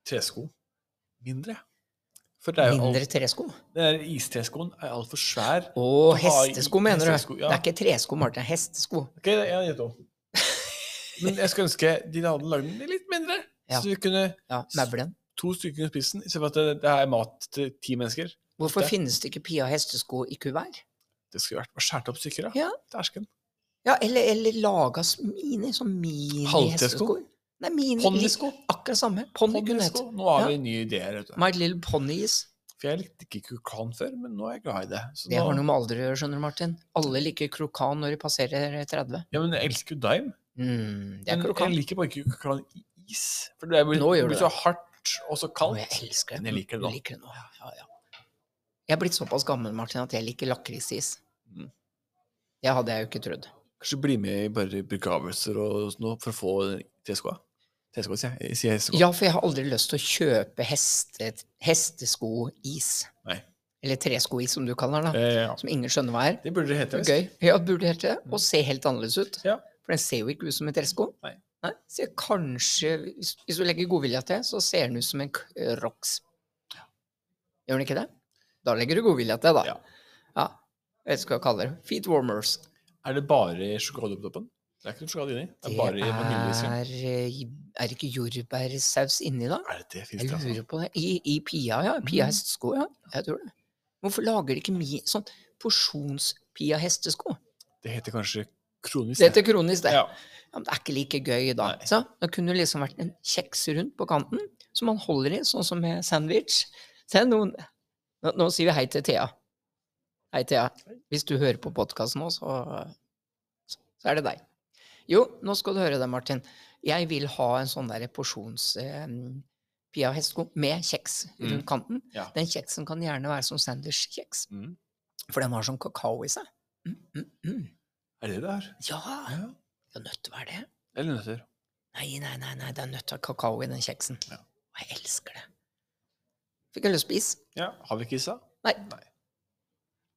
C: tresko mindre. For det er jo alt
B: Mindre tresko.
C: Den der istreskoen er altfor svær.
B: Og
C: Da har jeg
B: hestesko, mener du?
C: hestesko, ja.
B: Det er ikke tresko, Martin. det er Hestesko.
C: Ok, jeg har gitt opp. Men jeg skulle ønske de hadde lagd den litt mindre.
B: Ja.
C: Så vi kunne
B: Ja, møbelen.
C: to stykker kunne spist den, istedenfor at det, det er mat til ti mennesker.
B: Hvorfor
C: Det-
B: finnes det ikke Pia hestesko i kuvert?
C: Det skulle vært bare skåret opp stykker, da.
B: Ja.
C: Dæsken.
B: Ja, eller, eller laga s- mini, sånn mini-hestesko.
C: Halvtresko.
B: Nei, mini,
C: Ponnisko.
B: akkurat samme. Ponni Sånn kunne hett.
C: Ponnisko. Nå har
B: Ja.
C: vi nye ideer. Vet du.
B: My Little Ponnies.
C: For jeg likte ikke krokan før, men nå er jeg glad i det. Så
B: Det
C: nå,
B: har noe med alder å gjøre, skjønner du, Martin. Alle liker krokan når de passerer 30.
C: Ja, men jeg elsker jo daim.
B: Mm, det er
C: Men
B: krokan.
C: jeg liker bare ikke krokan i is. For det blir,
B: Nå gjør
C: det blir
B: du
C: så hardt og så
B: Å,
C: kaldt.
B: jeg elsker det.
C: Men jeg liker det
B: Du
C: nå.
B: liker det nå. Ja, ja, ja. Jeg er blitt såpass gammel, Martin, at jeg liker lakrisis.
C: Mm.
B: Det hadde jeg jo ikke trodd.
C: Kanskje bli med i bare begravelser og sånn noe for å få TSK? TSK, sier jeg. jeg. Sier SK.
B: Ja, for jeg har aldri lyst til å kjøpe heste, hesteskois.
C: Nei.
B: Eller treskois, som du kaller den, da.
C: Eh, ja.
B: Som ingen skjønner hva er.
C: Det burde det hete.
B: Det
C: visst.
B: er Gøy. Ja, det burde hete det. Og
C: Mm.
B: se helt annerledes ut.
C: Ja.
B: For den ser jo ikke ut som en tresko.
C: Nei.
B: Så kanskje, hvis, hvis du legger godvilja til, så ser den ut som en k- eh, Rox. Gjør den ikke det? Da legger du godvilja til, da.
C: Ja.
B: Ja. Jeg vet ikke hva jeg kaller det. Feet warmers.
C: Er det bare sjokolade på toppen? Det er ikke noe sjokolade inni. Det
B: Det
C: er bare i vaniljekrem.
B: er eh, Er det ikke jordbærsaus inni da?
C: Er det det? Fins
B: Jeg
C: det, altså?
B: lurer på det. I, i Pia, ja. Pia
C: Mm.
B: hestesko, ja. Jeg tror det. Hvorfor lager de ikke mi, sånn porsjons-Pia hestesko?
C: Det heter kanskje kronis.
B: Det heter kronis, det. Ja.
C: Ja.
B: men det er ikke like gøy da.
C: Nei.
B: Så, det kunne det liksom vært en kjeks rundt på kanten, som man holder i, sånn som med sandwich. Se, noen, nå, nå sier vi hei til Thea. Hei, Thea. Hvis du hører på podkasten nå, så, så er det deg. Jo, nå skal du høre det, Martin. Jeg vil ha en sånn der porsjons... Eh, Pia Hestko med kjeks rundt
C: Mm.
B: kanten.
C: Ja.
B: Den kjeksen kan gjerne være som sandwich-kjeks,
C: Mm.
B: for den har sånn kakao i seg. Mm, mm, mm.
C: Er det det det er?
B: Ja,
C: Ja.
B: det er nødt til å være det.
C: Eller nøtter.
B: Nei, nei, nei, nei, det er nødt til å ha kakao i den kjeksen.
C: Ja.
B: Og jeg elsker det. Fikk jeg lyst på is?
C: Ja. Har vi ikke is, da?
B: Nei.
C: Nei.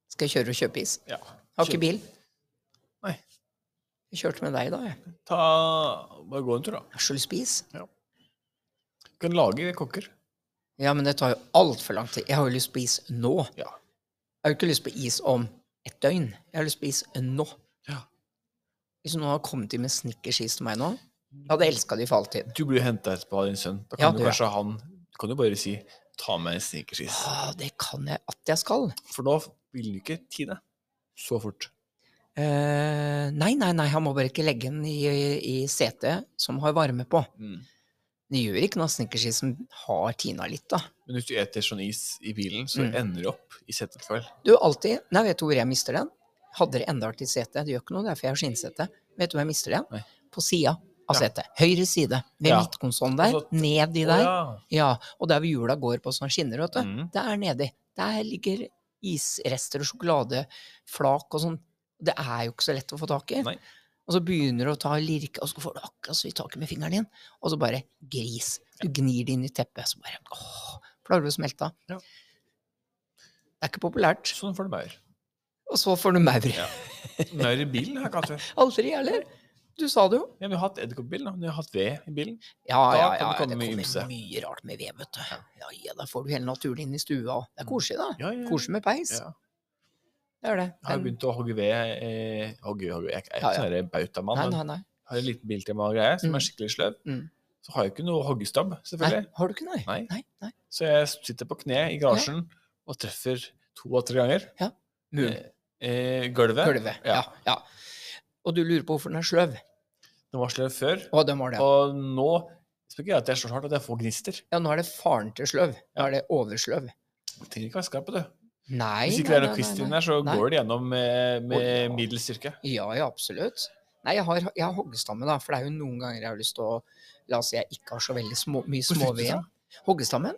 B: Skal jeg kjøre og kjøpe is?
C: Ja.
B: Har ikke bil.
C: Nei.
B: Jeg kjørte med deg da, jeg.
C: Ta Bare gå en tur, da.
B: Jeg har så lyst på is.
C: Du kan lage kokker.
B: Ja, men det tar jo altfor lang tid. Jeg har jo lyst på is nå.
C: Ja.
B: Jeg har jo ikke lyst på is om et døgn. Jeg har lyst på is nå.
C: Ja.
B: Hvis noen har kommet inn med snickersis til meg nå, jeg hadde elska de for all tid.
C: Du blir henta etterpå av din sønn. Da
B: Ja,
C: kan du
B: det gjør
C: kanskje ha han Du kan jo bare si 'ta med en sneakers-is'.
B: Ah, det kan jeg at jeg skal.
C: For nå vil du ikke ti det så fort.
B: Eh, nei, nei, nei, han må bare ikke legge den i, i setet som har varme på. Det gjør ikke noe at snickerskisen har tina litt, da.
C: Men hvis du eter sånn is i bilen, så
B: Mm.
C: ender du opp i setet likevel.
B: Du, alltid Nei, vet du hvor jeg mister den? Hadde det enda vært i setet, det gjør ikke noe, det er for jeg har skinnsete. Vet du hvor jeg mister den?
C: Nei.
B: På sida av
C: Ja.
B: setet. Høyre side. Ved
C: Ja.
B: midtkonsollen der.
C: Altså,
B: Nedi
C: Å,
B: der. Ja.
C: ja.
B: Og der hvor hjula går på sånne skinner, vet du.
C: Mm.
B: Der nedi. Der ligger isrester og sjokoladeflak og sånn. Det er jo ikke så lett å få tak i.
C: Nei.
B: Og så begynner du å ta lirke, og så får du akkurat så vidt tak i med fingeren din, og så bare gris. Du gnir det inn i teppet, så bare åh, klarer du å smelte av.
C: Ja.
B: Det er ikke populært.
C: Sånn får du maur.
B: Og så får du maur.
C: Ja. Maur i bilen har jeg ikke hatt før.
B: Aldri, eller? Du sa det jo.
C: Ja, men Jeg har hatt edderkoppbil, da, men jeg har hatt ved i bilen.
B: Ja,
C: Da
B: ja,
C: kan
B: ja,
C: det komme
B: det
C: mye
B: kommer
C: ymse.
B: mye rart med ved, vet du. Ja, ja, da får du hele naturen inn i stua. og Det er koselig, da.
C: Ja, ja, ja.
B: Koselig med peis.
C: Mm. Ja.
B: Det er det.
C: Jeg har jo
B: Men-
C: begynt å hogge ved. Eh, hogge, hogge. Jeg er
B: Ja,
C: ikke
B: ja.
C: sånn her bautamann,
B: Nei,
C: men
B: nei, nei.
C: jeg har en liten biltema og greier som
B: Mm.
C: er skikkelig sløv.
B: Mm.
C: Så har jeg ikke noe hoggestabb,
B: nei.
C: selvfølgelig.
B: Har du ikke, nei?
C: Nei.
B: nei, nei.
C: Så jeg sitter på kne i garasjen og treffer to av tre ganger
B: Mul.
C: eh, gulvet.
B: Gulvet. Ja. ja. Og du lurer på hvorfor den er sløv.
C: Den var sløv før,
B: Å, den var det.
C: og nå skal ikke jeg at jeg slår så hardt at jeg får gnister.
B: Ja, nå er det faren til sløv. Nå er det oversløv.
C: Jeg trenger ikke å være skarp på det.
B: Nei,
C: Hvis ikke
B: nei,
C: det er
B: nei,
C: noe kvist
B: nei,
C: inni
B: nei.
C: der, så
B: Nei.
C: går det gjennom med,
B: Å, ja.
C: med middels styrke.
B: Ja, ja, absolutt. Nei, jeg har, jeg har hoggestamme, da, for det er jo noen ganger jeg har lyst til å La oss si jeg ikke har så veldig små, mye
C: Hvor fikk
B: småved
C: du sånn?
B: igjen. Hoggestammen?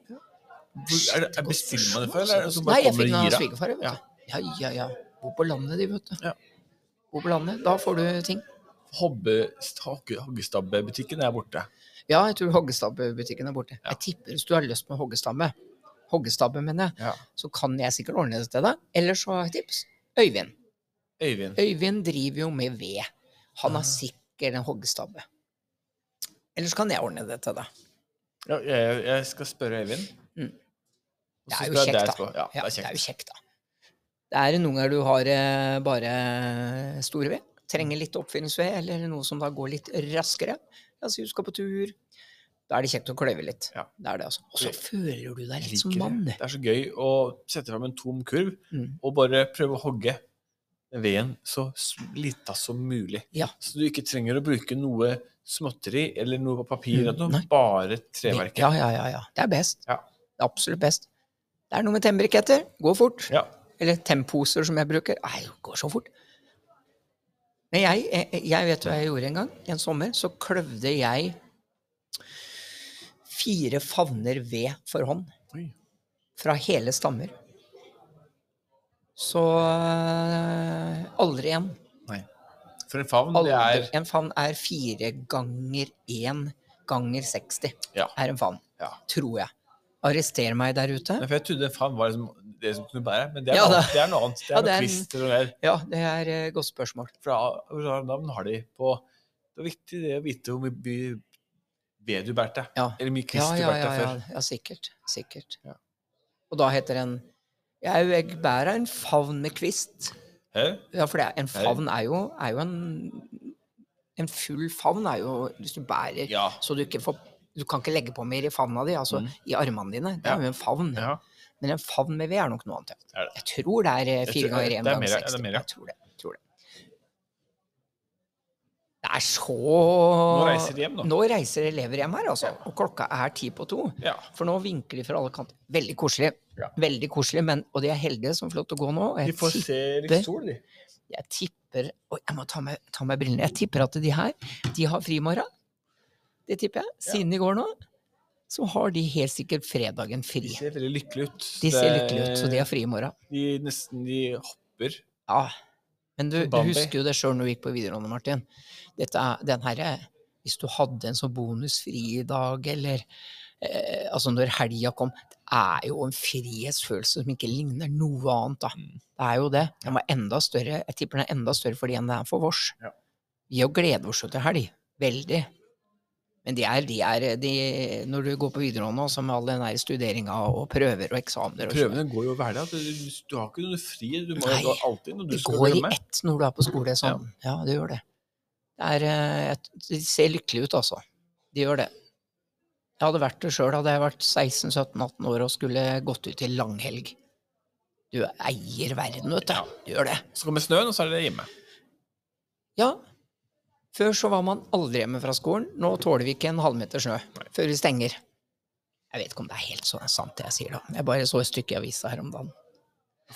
C: Hvor- er det- er bestiller man det før, eller er det som bare
B: Nei, jeg
C: kommer
B: fikk den
C: og
B: av
C: gir deg?
B: svigerfar, vet du. Ja, ja, ja. Bor på landet, de, vet du.
C: Ja.
B: Bor på landet. Da får du ting.
C: Hobbe- hogge- Hoggestabbe-butikken er borte.
B: Ja, jeg tror hoggestabbebutikken er borte. Jeg tipper hvis du har lyst på en hoggestamme, hoggestabbe, mener jeg,
C: Ja.
B: så kan jeg sikkert ordne det til deg. Eller så har jeg et tips. Øyvind.
C: Øyvind.
B: Øyvind driver jo med ved. Han
C: Ah.
B: har sikkert en hoggestabbe. Ellers kan jeg ordne det til deg.
C: Ja, jeg, jeg skal spørre Øyvind.
B: Mm.
C: Og
B: Det
C: så
B: er jo
C: skal jeg deg
B: kjekt, da.
C: etterpå. Ja, det er kjekt.
B: jo kjekt, da. Det er noen ganger du har eh, bare eh, store ved. Trenger litt oppfinningsved, eller noe som da går litt raskere. La oss si du skal på tur. Da er det kjekt å kløyve litt.
C: Ja.
B: Det er det, altså. Og så
C: Jeg-
B: føler du deg
C: Jeg
B: litt som
C: liker
B: mann.
C: Det. det er så gøy å sette fram en tom kurv
B: Mm.
C: og bare prøve å hogge veden så s- lita som mulig.
B: Ja.
C: Så du ikke trenger å bruke noe småtteri eller noe papir,
B: Mm,
C: eller noe,
B: nei.
C: bare treverket.
B: Ja, ja, ja, ja. Det er best.
C: Ja.
B: Det er absolutt best. Det er noe med tennbriketter. Går fort.
C: Ja.
B: Eller temposer, som jeg bruker. Nei, det går så fort. Men jeg, jeg, jeg vet hva jeg gjorde en gang. En sommer så kløvde jeg fire favner ved for hånd.
C: Oi.
B: Fra hele stammer. Så øh, aldri igjen.
C: Nei. For en favn, det
B: Aldri.
C: er
B: En favn er fire ganger én ganger 60.
C: Ja.
B: Er en favn.
C: Ja.
B: Tror jeg. Arrester meg der ute.
C: Nei, for Jeg trodde en favn var liksom det som kunne bære, men det er,
B: Ja,
C: noe,
B: det-
C: annet. det er noe annet. Det
B: Ja,
C: er
B: det
C: noe
B: er en-
C: kvist eller noe der.
B: Ja, det er et godt spørsmål.
C: For da- hva navn har de på Det er viktig det å vite hvor mye by- ved du bærte.
B: Ja.
C: Eller hvor mye kvist
B: Ja,
C: du
B: ja,
C: bærte
B: ja, ja,
C: før.
B: ja sikkert. sikkert.
C: Ja.
B: Og da heter den Jeg, jeg bærer en favn med kvist.
C: Hæ?
B: Ja, for det er, en favn er jo, er jo en, en full favn er jo hvis du bærer
C: Ja.
B: Så du, ikke får, du kan ikke legge på mer i favna di, altså
C: Mm.
B: i armene dine. Det er jo en favn.
C: ja.
B: Men en favn med ved er nok noe annet.
C: Det er det.
B: Jeg tror det er eh,
C: Jeg
B: fire
C: tror-
B: ganger
C: det er
B: én gang
C: mer, ja,
B: 60.
C: det er mer, ja.
B: Jeg tror det. jeg Tror det. Det er så
C: Nå reiser de hjem, da.
B: Nå reiser elever hjem her, altså. Og klokka er ti på to.
C: Ja.
B: For nå vinker de fra alle kanter. Veldig koselig.
C: Ja.
B: Veldig koselig, men, og de er heldige som får lov til å gå nå. og
C: De
B: Jeg,
C: får
B: tipp-
C: se
B: tipper-
C: litt sol, de.
B: jeg tipper Oi, jeg må ta med, ta med brillene. Jeg tipper at de her, de har fri i morgen. Det tipper jeg. Siden i går nå, så har de helt sikkert fredagen
C: De
B: fri.
C: ser veldig lykkelige ut.
B: De ser lykkelige ut, så de har fri i morgen.
C: De nesten de hopper.
B: Ja, men du,
C: Som
B: du
C: Bambi.
B: husker jo det sjøl når du gikk på videregående, Martin. Dette er, den herre Hvis du hadde en sånn bonusfridag, eller eh, altså når helga kom Det er jo en frihetsfølelse som ikke ligner noe annet, da.
C: Mm.
B: Det er jo det. Den var enda større. Jeg tipper den er enda større for de enn den er for vårs.
C: Ja.
B: Vi jo gleder oss jo til helg. Veldig. Men de er, de er de, Når du går på videregående, også med all den der studeringa og prøver og eksamener og sånn,
C: Prøvene går jo hver dag. Du, du har ikke noe fri. Du må
B: Nei.
C: jo gå alltid når du
B: Det
C: skal
B: går i
C: glemme.
B: ett når du er på skole. Sånn. Ja, det gjør det. det er, eh, et- de ser lykkelige ut, altså. De gjør det. Jeg hadde vært det sjøl, hadde jeg vært 16-17-18 år og skulle gått ut i langhelg. Du eier verden, vet du. Du gjør det.
C: Så kommer snøen, og så er det hjemme.
B: Ja. Før så var man aldri hjemme fra skolen. Nå tåler vi ikke en halvmeter snø før vi stenger. Jeg vet ikke om det er helt sånn sant det jeg sier, da. Jeg bare så et stykke i avisa her om dagen.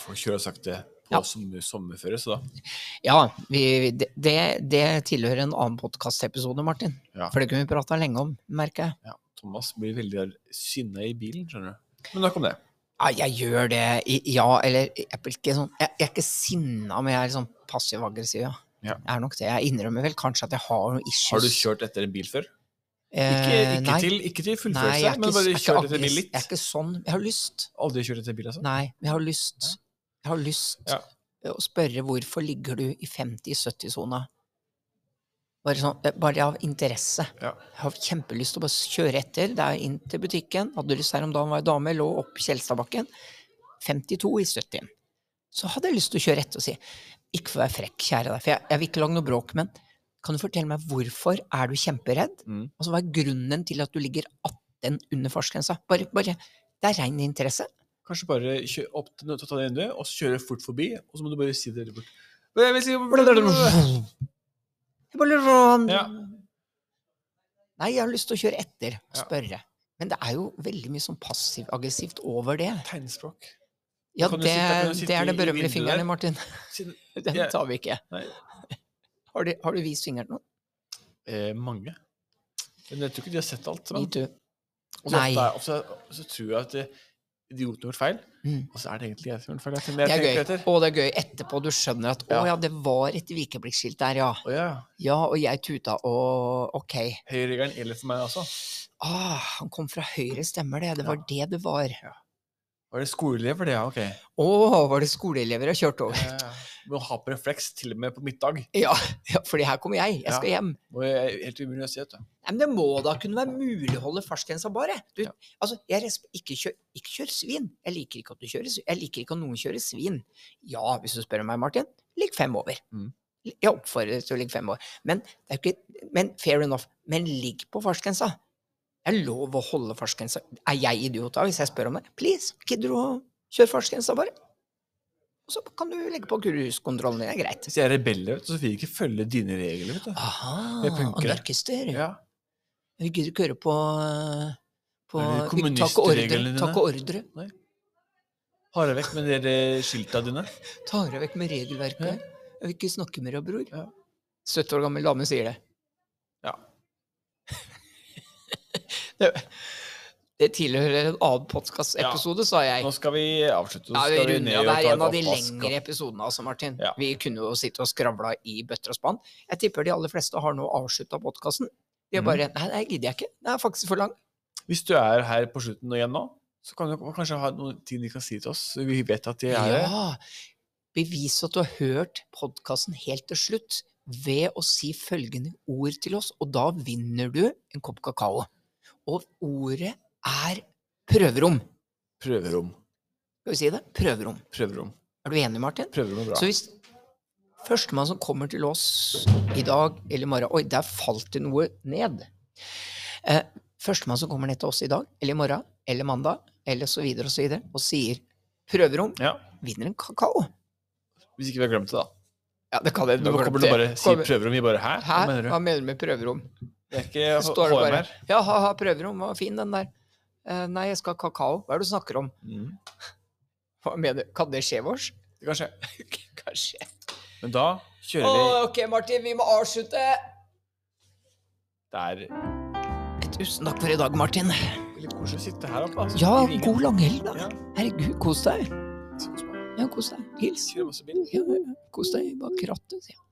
C: Folk kjører sakte på
B: Ja.
C: sommer, sommerferie, så da
B: Ja, vi, det- det, det tilhører en annen podkastepisode, Martin.
C: Ja.
B: For det kunne vi prata lenge om, merker jeg.
C: ja, Thomas blir veldig sinna i bilen, skjønner du. Men nok om det.
B: Ja, jeg gjør det. I- Ja, eller jeg blir ikke sånn Jeg, jeg er ikke sinna, men jeg er litt sånn passiv-aggressiv, ja.
C: Ja.
B: Jeg er nok det. Jeg innrømmer vel kanskje at jeg har noen issues.
C: Har du kjørt etter en bil før? Ikke,
B: Eh,
C: ikke,
B: nei.
C: til, ikke til
B: Nei, jeg
C: fullførelse,
B: er ikke,
C: men
B: jeg
C: bare
B: er ikke
C: kjørt etter bil
B: aggressiv. Jeg
C: litt.
B: er ikke sånn. Jeg har lyst.
C: Aldri kjørt etter bil, altså?
B: Nei, men jeg har lyst. Jeg har lyst
C: Ja.
B: å spørre hvorfor ligger du i 50-70-sona? Bare, sånn, bare av interesse.
C: Ja.
B: Jeg har kjempelyst til å bare kjøre etter. Det er inn til butikken. Hadde lyst her om dagen, var ei dame, lå opp Kjelstadbakken. 52 i 70. Så hadde jeg lyst til å kjøre etter og si Ikke for å være frekk, kjære deg, for jeg, jeg vil ikke lage noe bråk, men kan du fortelle meg hvorfor er du kjemperedd?
C: Mm.
B: Altså, hva er grunnen til at du ligger 18 under fartsgrensa? Bare, bare, det er rein interesse.
C: Kanskje bare kjøre opp til ta det vinduet, og så kjøre fort forbi, og så må du bare si det bort. Men jeg vil si-
B: Jeg bare lurer på om-
C: Ja.
B: Nei, jeg har lyst til å kjøre etter og
C: Ja.
B: spørre. Men det er jo veldig mye sånn passiv-aggressivt over det.
C: Tegnspråk.
B: Ja,
C: Kan du
B: det,
C: sitte- kan du sitte
B: det er det
C: i- i
B: berømmelige
C: vinduet der?
B: fingeren, Martin.
C: Siden,
B: Den
C: Jeg-
B: tar vi ikke.
C: Nei.
B: Har du, har du vist fingeren nå?
C: eh, mange. Men jeg tror ikke de har sett alt.
B: Me
C: Men.
B: too.
C: Og så,
B: Mm, Nei.
C: og så, og så tror jeg at eh, idioten gjorde feil,
B: Mm.
C: og så er det egentlig jeg som gjorde feil.
B: Det er gøy.
C: Etter.
B: Og det er gøy etterpå. Du skjønner at 'å
C: Ja.
B: ja, det var et vikeblikkskilt der, ja'.
C: Å ja.
B: Ja, og jeg tuta, og ok.
C: Høyreregelen gjelder for meg også.
B: Ah, han kom fra høyre, stemmer det. Det var det det var.
C: Var det skoleelever, det? Ja, ok.
B: Å, var det skoleelever jeg kjørte over?
C: Eh, Må ha på refleks til og med på middag.
B: Ja, ja fordi her kommer jeg. Jeg skal hjem.
C: Og jeg er helt umulig å si, vet du.
B: Nei, men det må da kunne være mulig å holde fartsgrensa bare. Du,
C: Ja.
B: altså, jeg resp ikke, kjør, ikke kjør svin. Jeg liker ikke at du kjører svin. Jeg liker ikke at noen kjører svin. Ja, hvis du spør meg, Martin, ligg fem over.
C: Mm.
B: Jeg oppfordrer til å ligge fem over. Men, det er ikke, men fair enough. Men ligg på fartsgrensa. Det er lov å holde fartsgrensa. Er jeg idiot da, hvis jeg spør om det? Please, gidder du å kjøre fartsgrensa bare? Og så kan du legge på cruisekontrollen din. Det er greit.
C: Hvis jeg er rebell, vet du, så vil jeg ikke følge dine regler, vet du.
B: Aha,
C: Det er punkere.
B: anarkister.
C: Ja.
B: Vi gidder ikke høre på, eh, på
C: Er det
B: vi- takk og ordre.
C: kommunistreglene
B: Takk og ordre.
C: Har jeg vekk med dere skilta dine?
B: Tar deg vekk med regelverket. Jeg vil ikke snakke med deg, bror.
C: Ja.
B: 70 år gammel dame sier det.
C: Ja.
B: det, det tilhører en annen podkast-episode, sa jeg.
C: Nå skal vi avslutte.
B: Ja,
C: så
B: vi
C: skal vi
B: runder,
C: ned
B: ja,
C: og
B: det
C: ta
B: er en
C: et
B: av de
C: oppvask, og-
B: lengre episodene, altså, Martin.
C: Ja.
B: Vi kunne jo sitte og skravla i bøtter og spann. Jeg tipper de aller fleste har nå avslutta podkasten. De er
C: Mhm.
B: bare Nei, det gidder jeg ikke. Det er faktisk for lang.
C: Hvis du er her på slutten og igjen nå, så kan du kanskje ha noen ting de kan si til oss. Vi vet at de er her.
B: Ja! Bevis at du har hørt podkasten helt til slutt ved å si følgende ord til oss, og da vinner du en kopp kakao. Og ordet er prøverom.
C: Prøverom.
B: Skal vi si det? Prøverom.
C: Prøverom.
B: Er du enig, Martin?
C: Prøverom er bra.
B: Så hvis Førstemann som kommer til oss i dag eller i morgen Oi, der falt det noe ned. Eh, Førstemann som kommer ned til oss i dag eller i morgen eller mandag eller så videre og så videre, og sier prøverom,
C: Ja.
B: vinner en kakao.
C: Hvis ikke vi har glemt det, da.
B: Ja, det kan jeg.
C: Da kommer du bare si prøver, og vi bare Hæ? Hva
B: Hæ?
C: mener
B: Hva
C: du?
B: mener du med prøverom?
C: Det er ikke
B: Så står det
C: HM
B: bare
C: her.
B: Ja, ha-ha, prøverom, var fin den der. Eh, nei, jeg skal ha kakao. Hva er det du snakker om?
C: Mm.
B: Hva mener du? Kan det skje vårs?
C: Det kan skje.
B: Kanskje.
C: Men da kjører vi
B: Å, ok, Martin, vi må avslutte.
C: Det er
B: Tusen takk for i dag, Martin.
C: litt koselig å sitte her oppe. Altså.
B: Ja,
C: I ringen.
B: god langhelg, da.
C: Ja.
B: Herregud, kos deg.
C: Kjører
B: Ja, kos deg. Hils.
C: masse bil.
B: Ja, ja, kos deg bak rattet, sier jeg.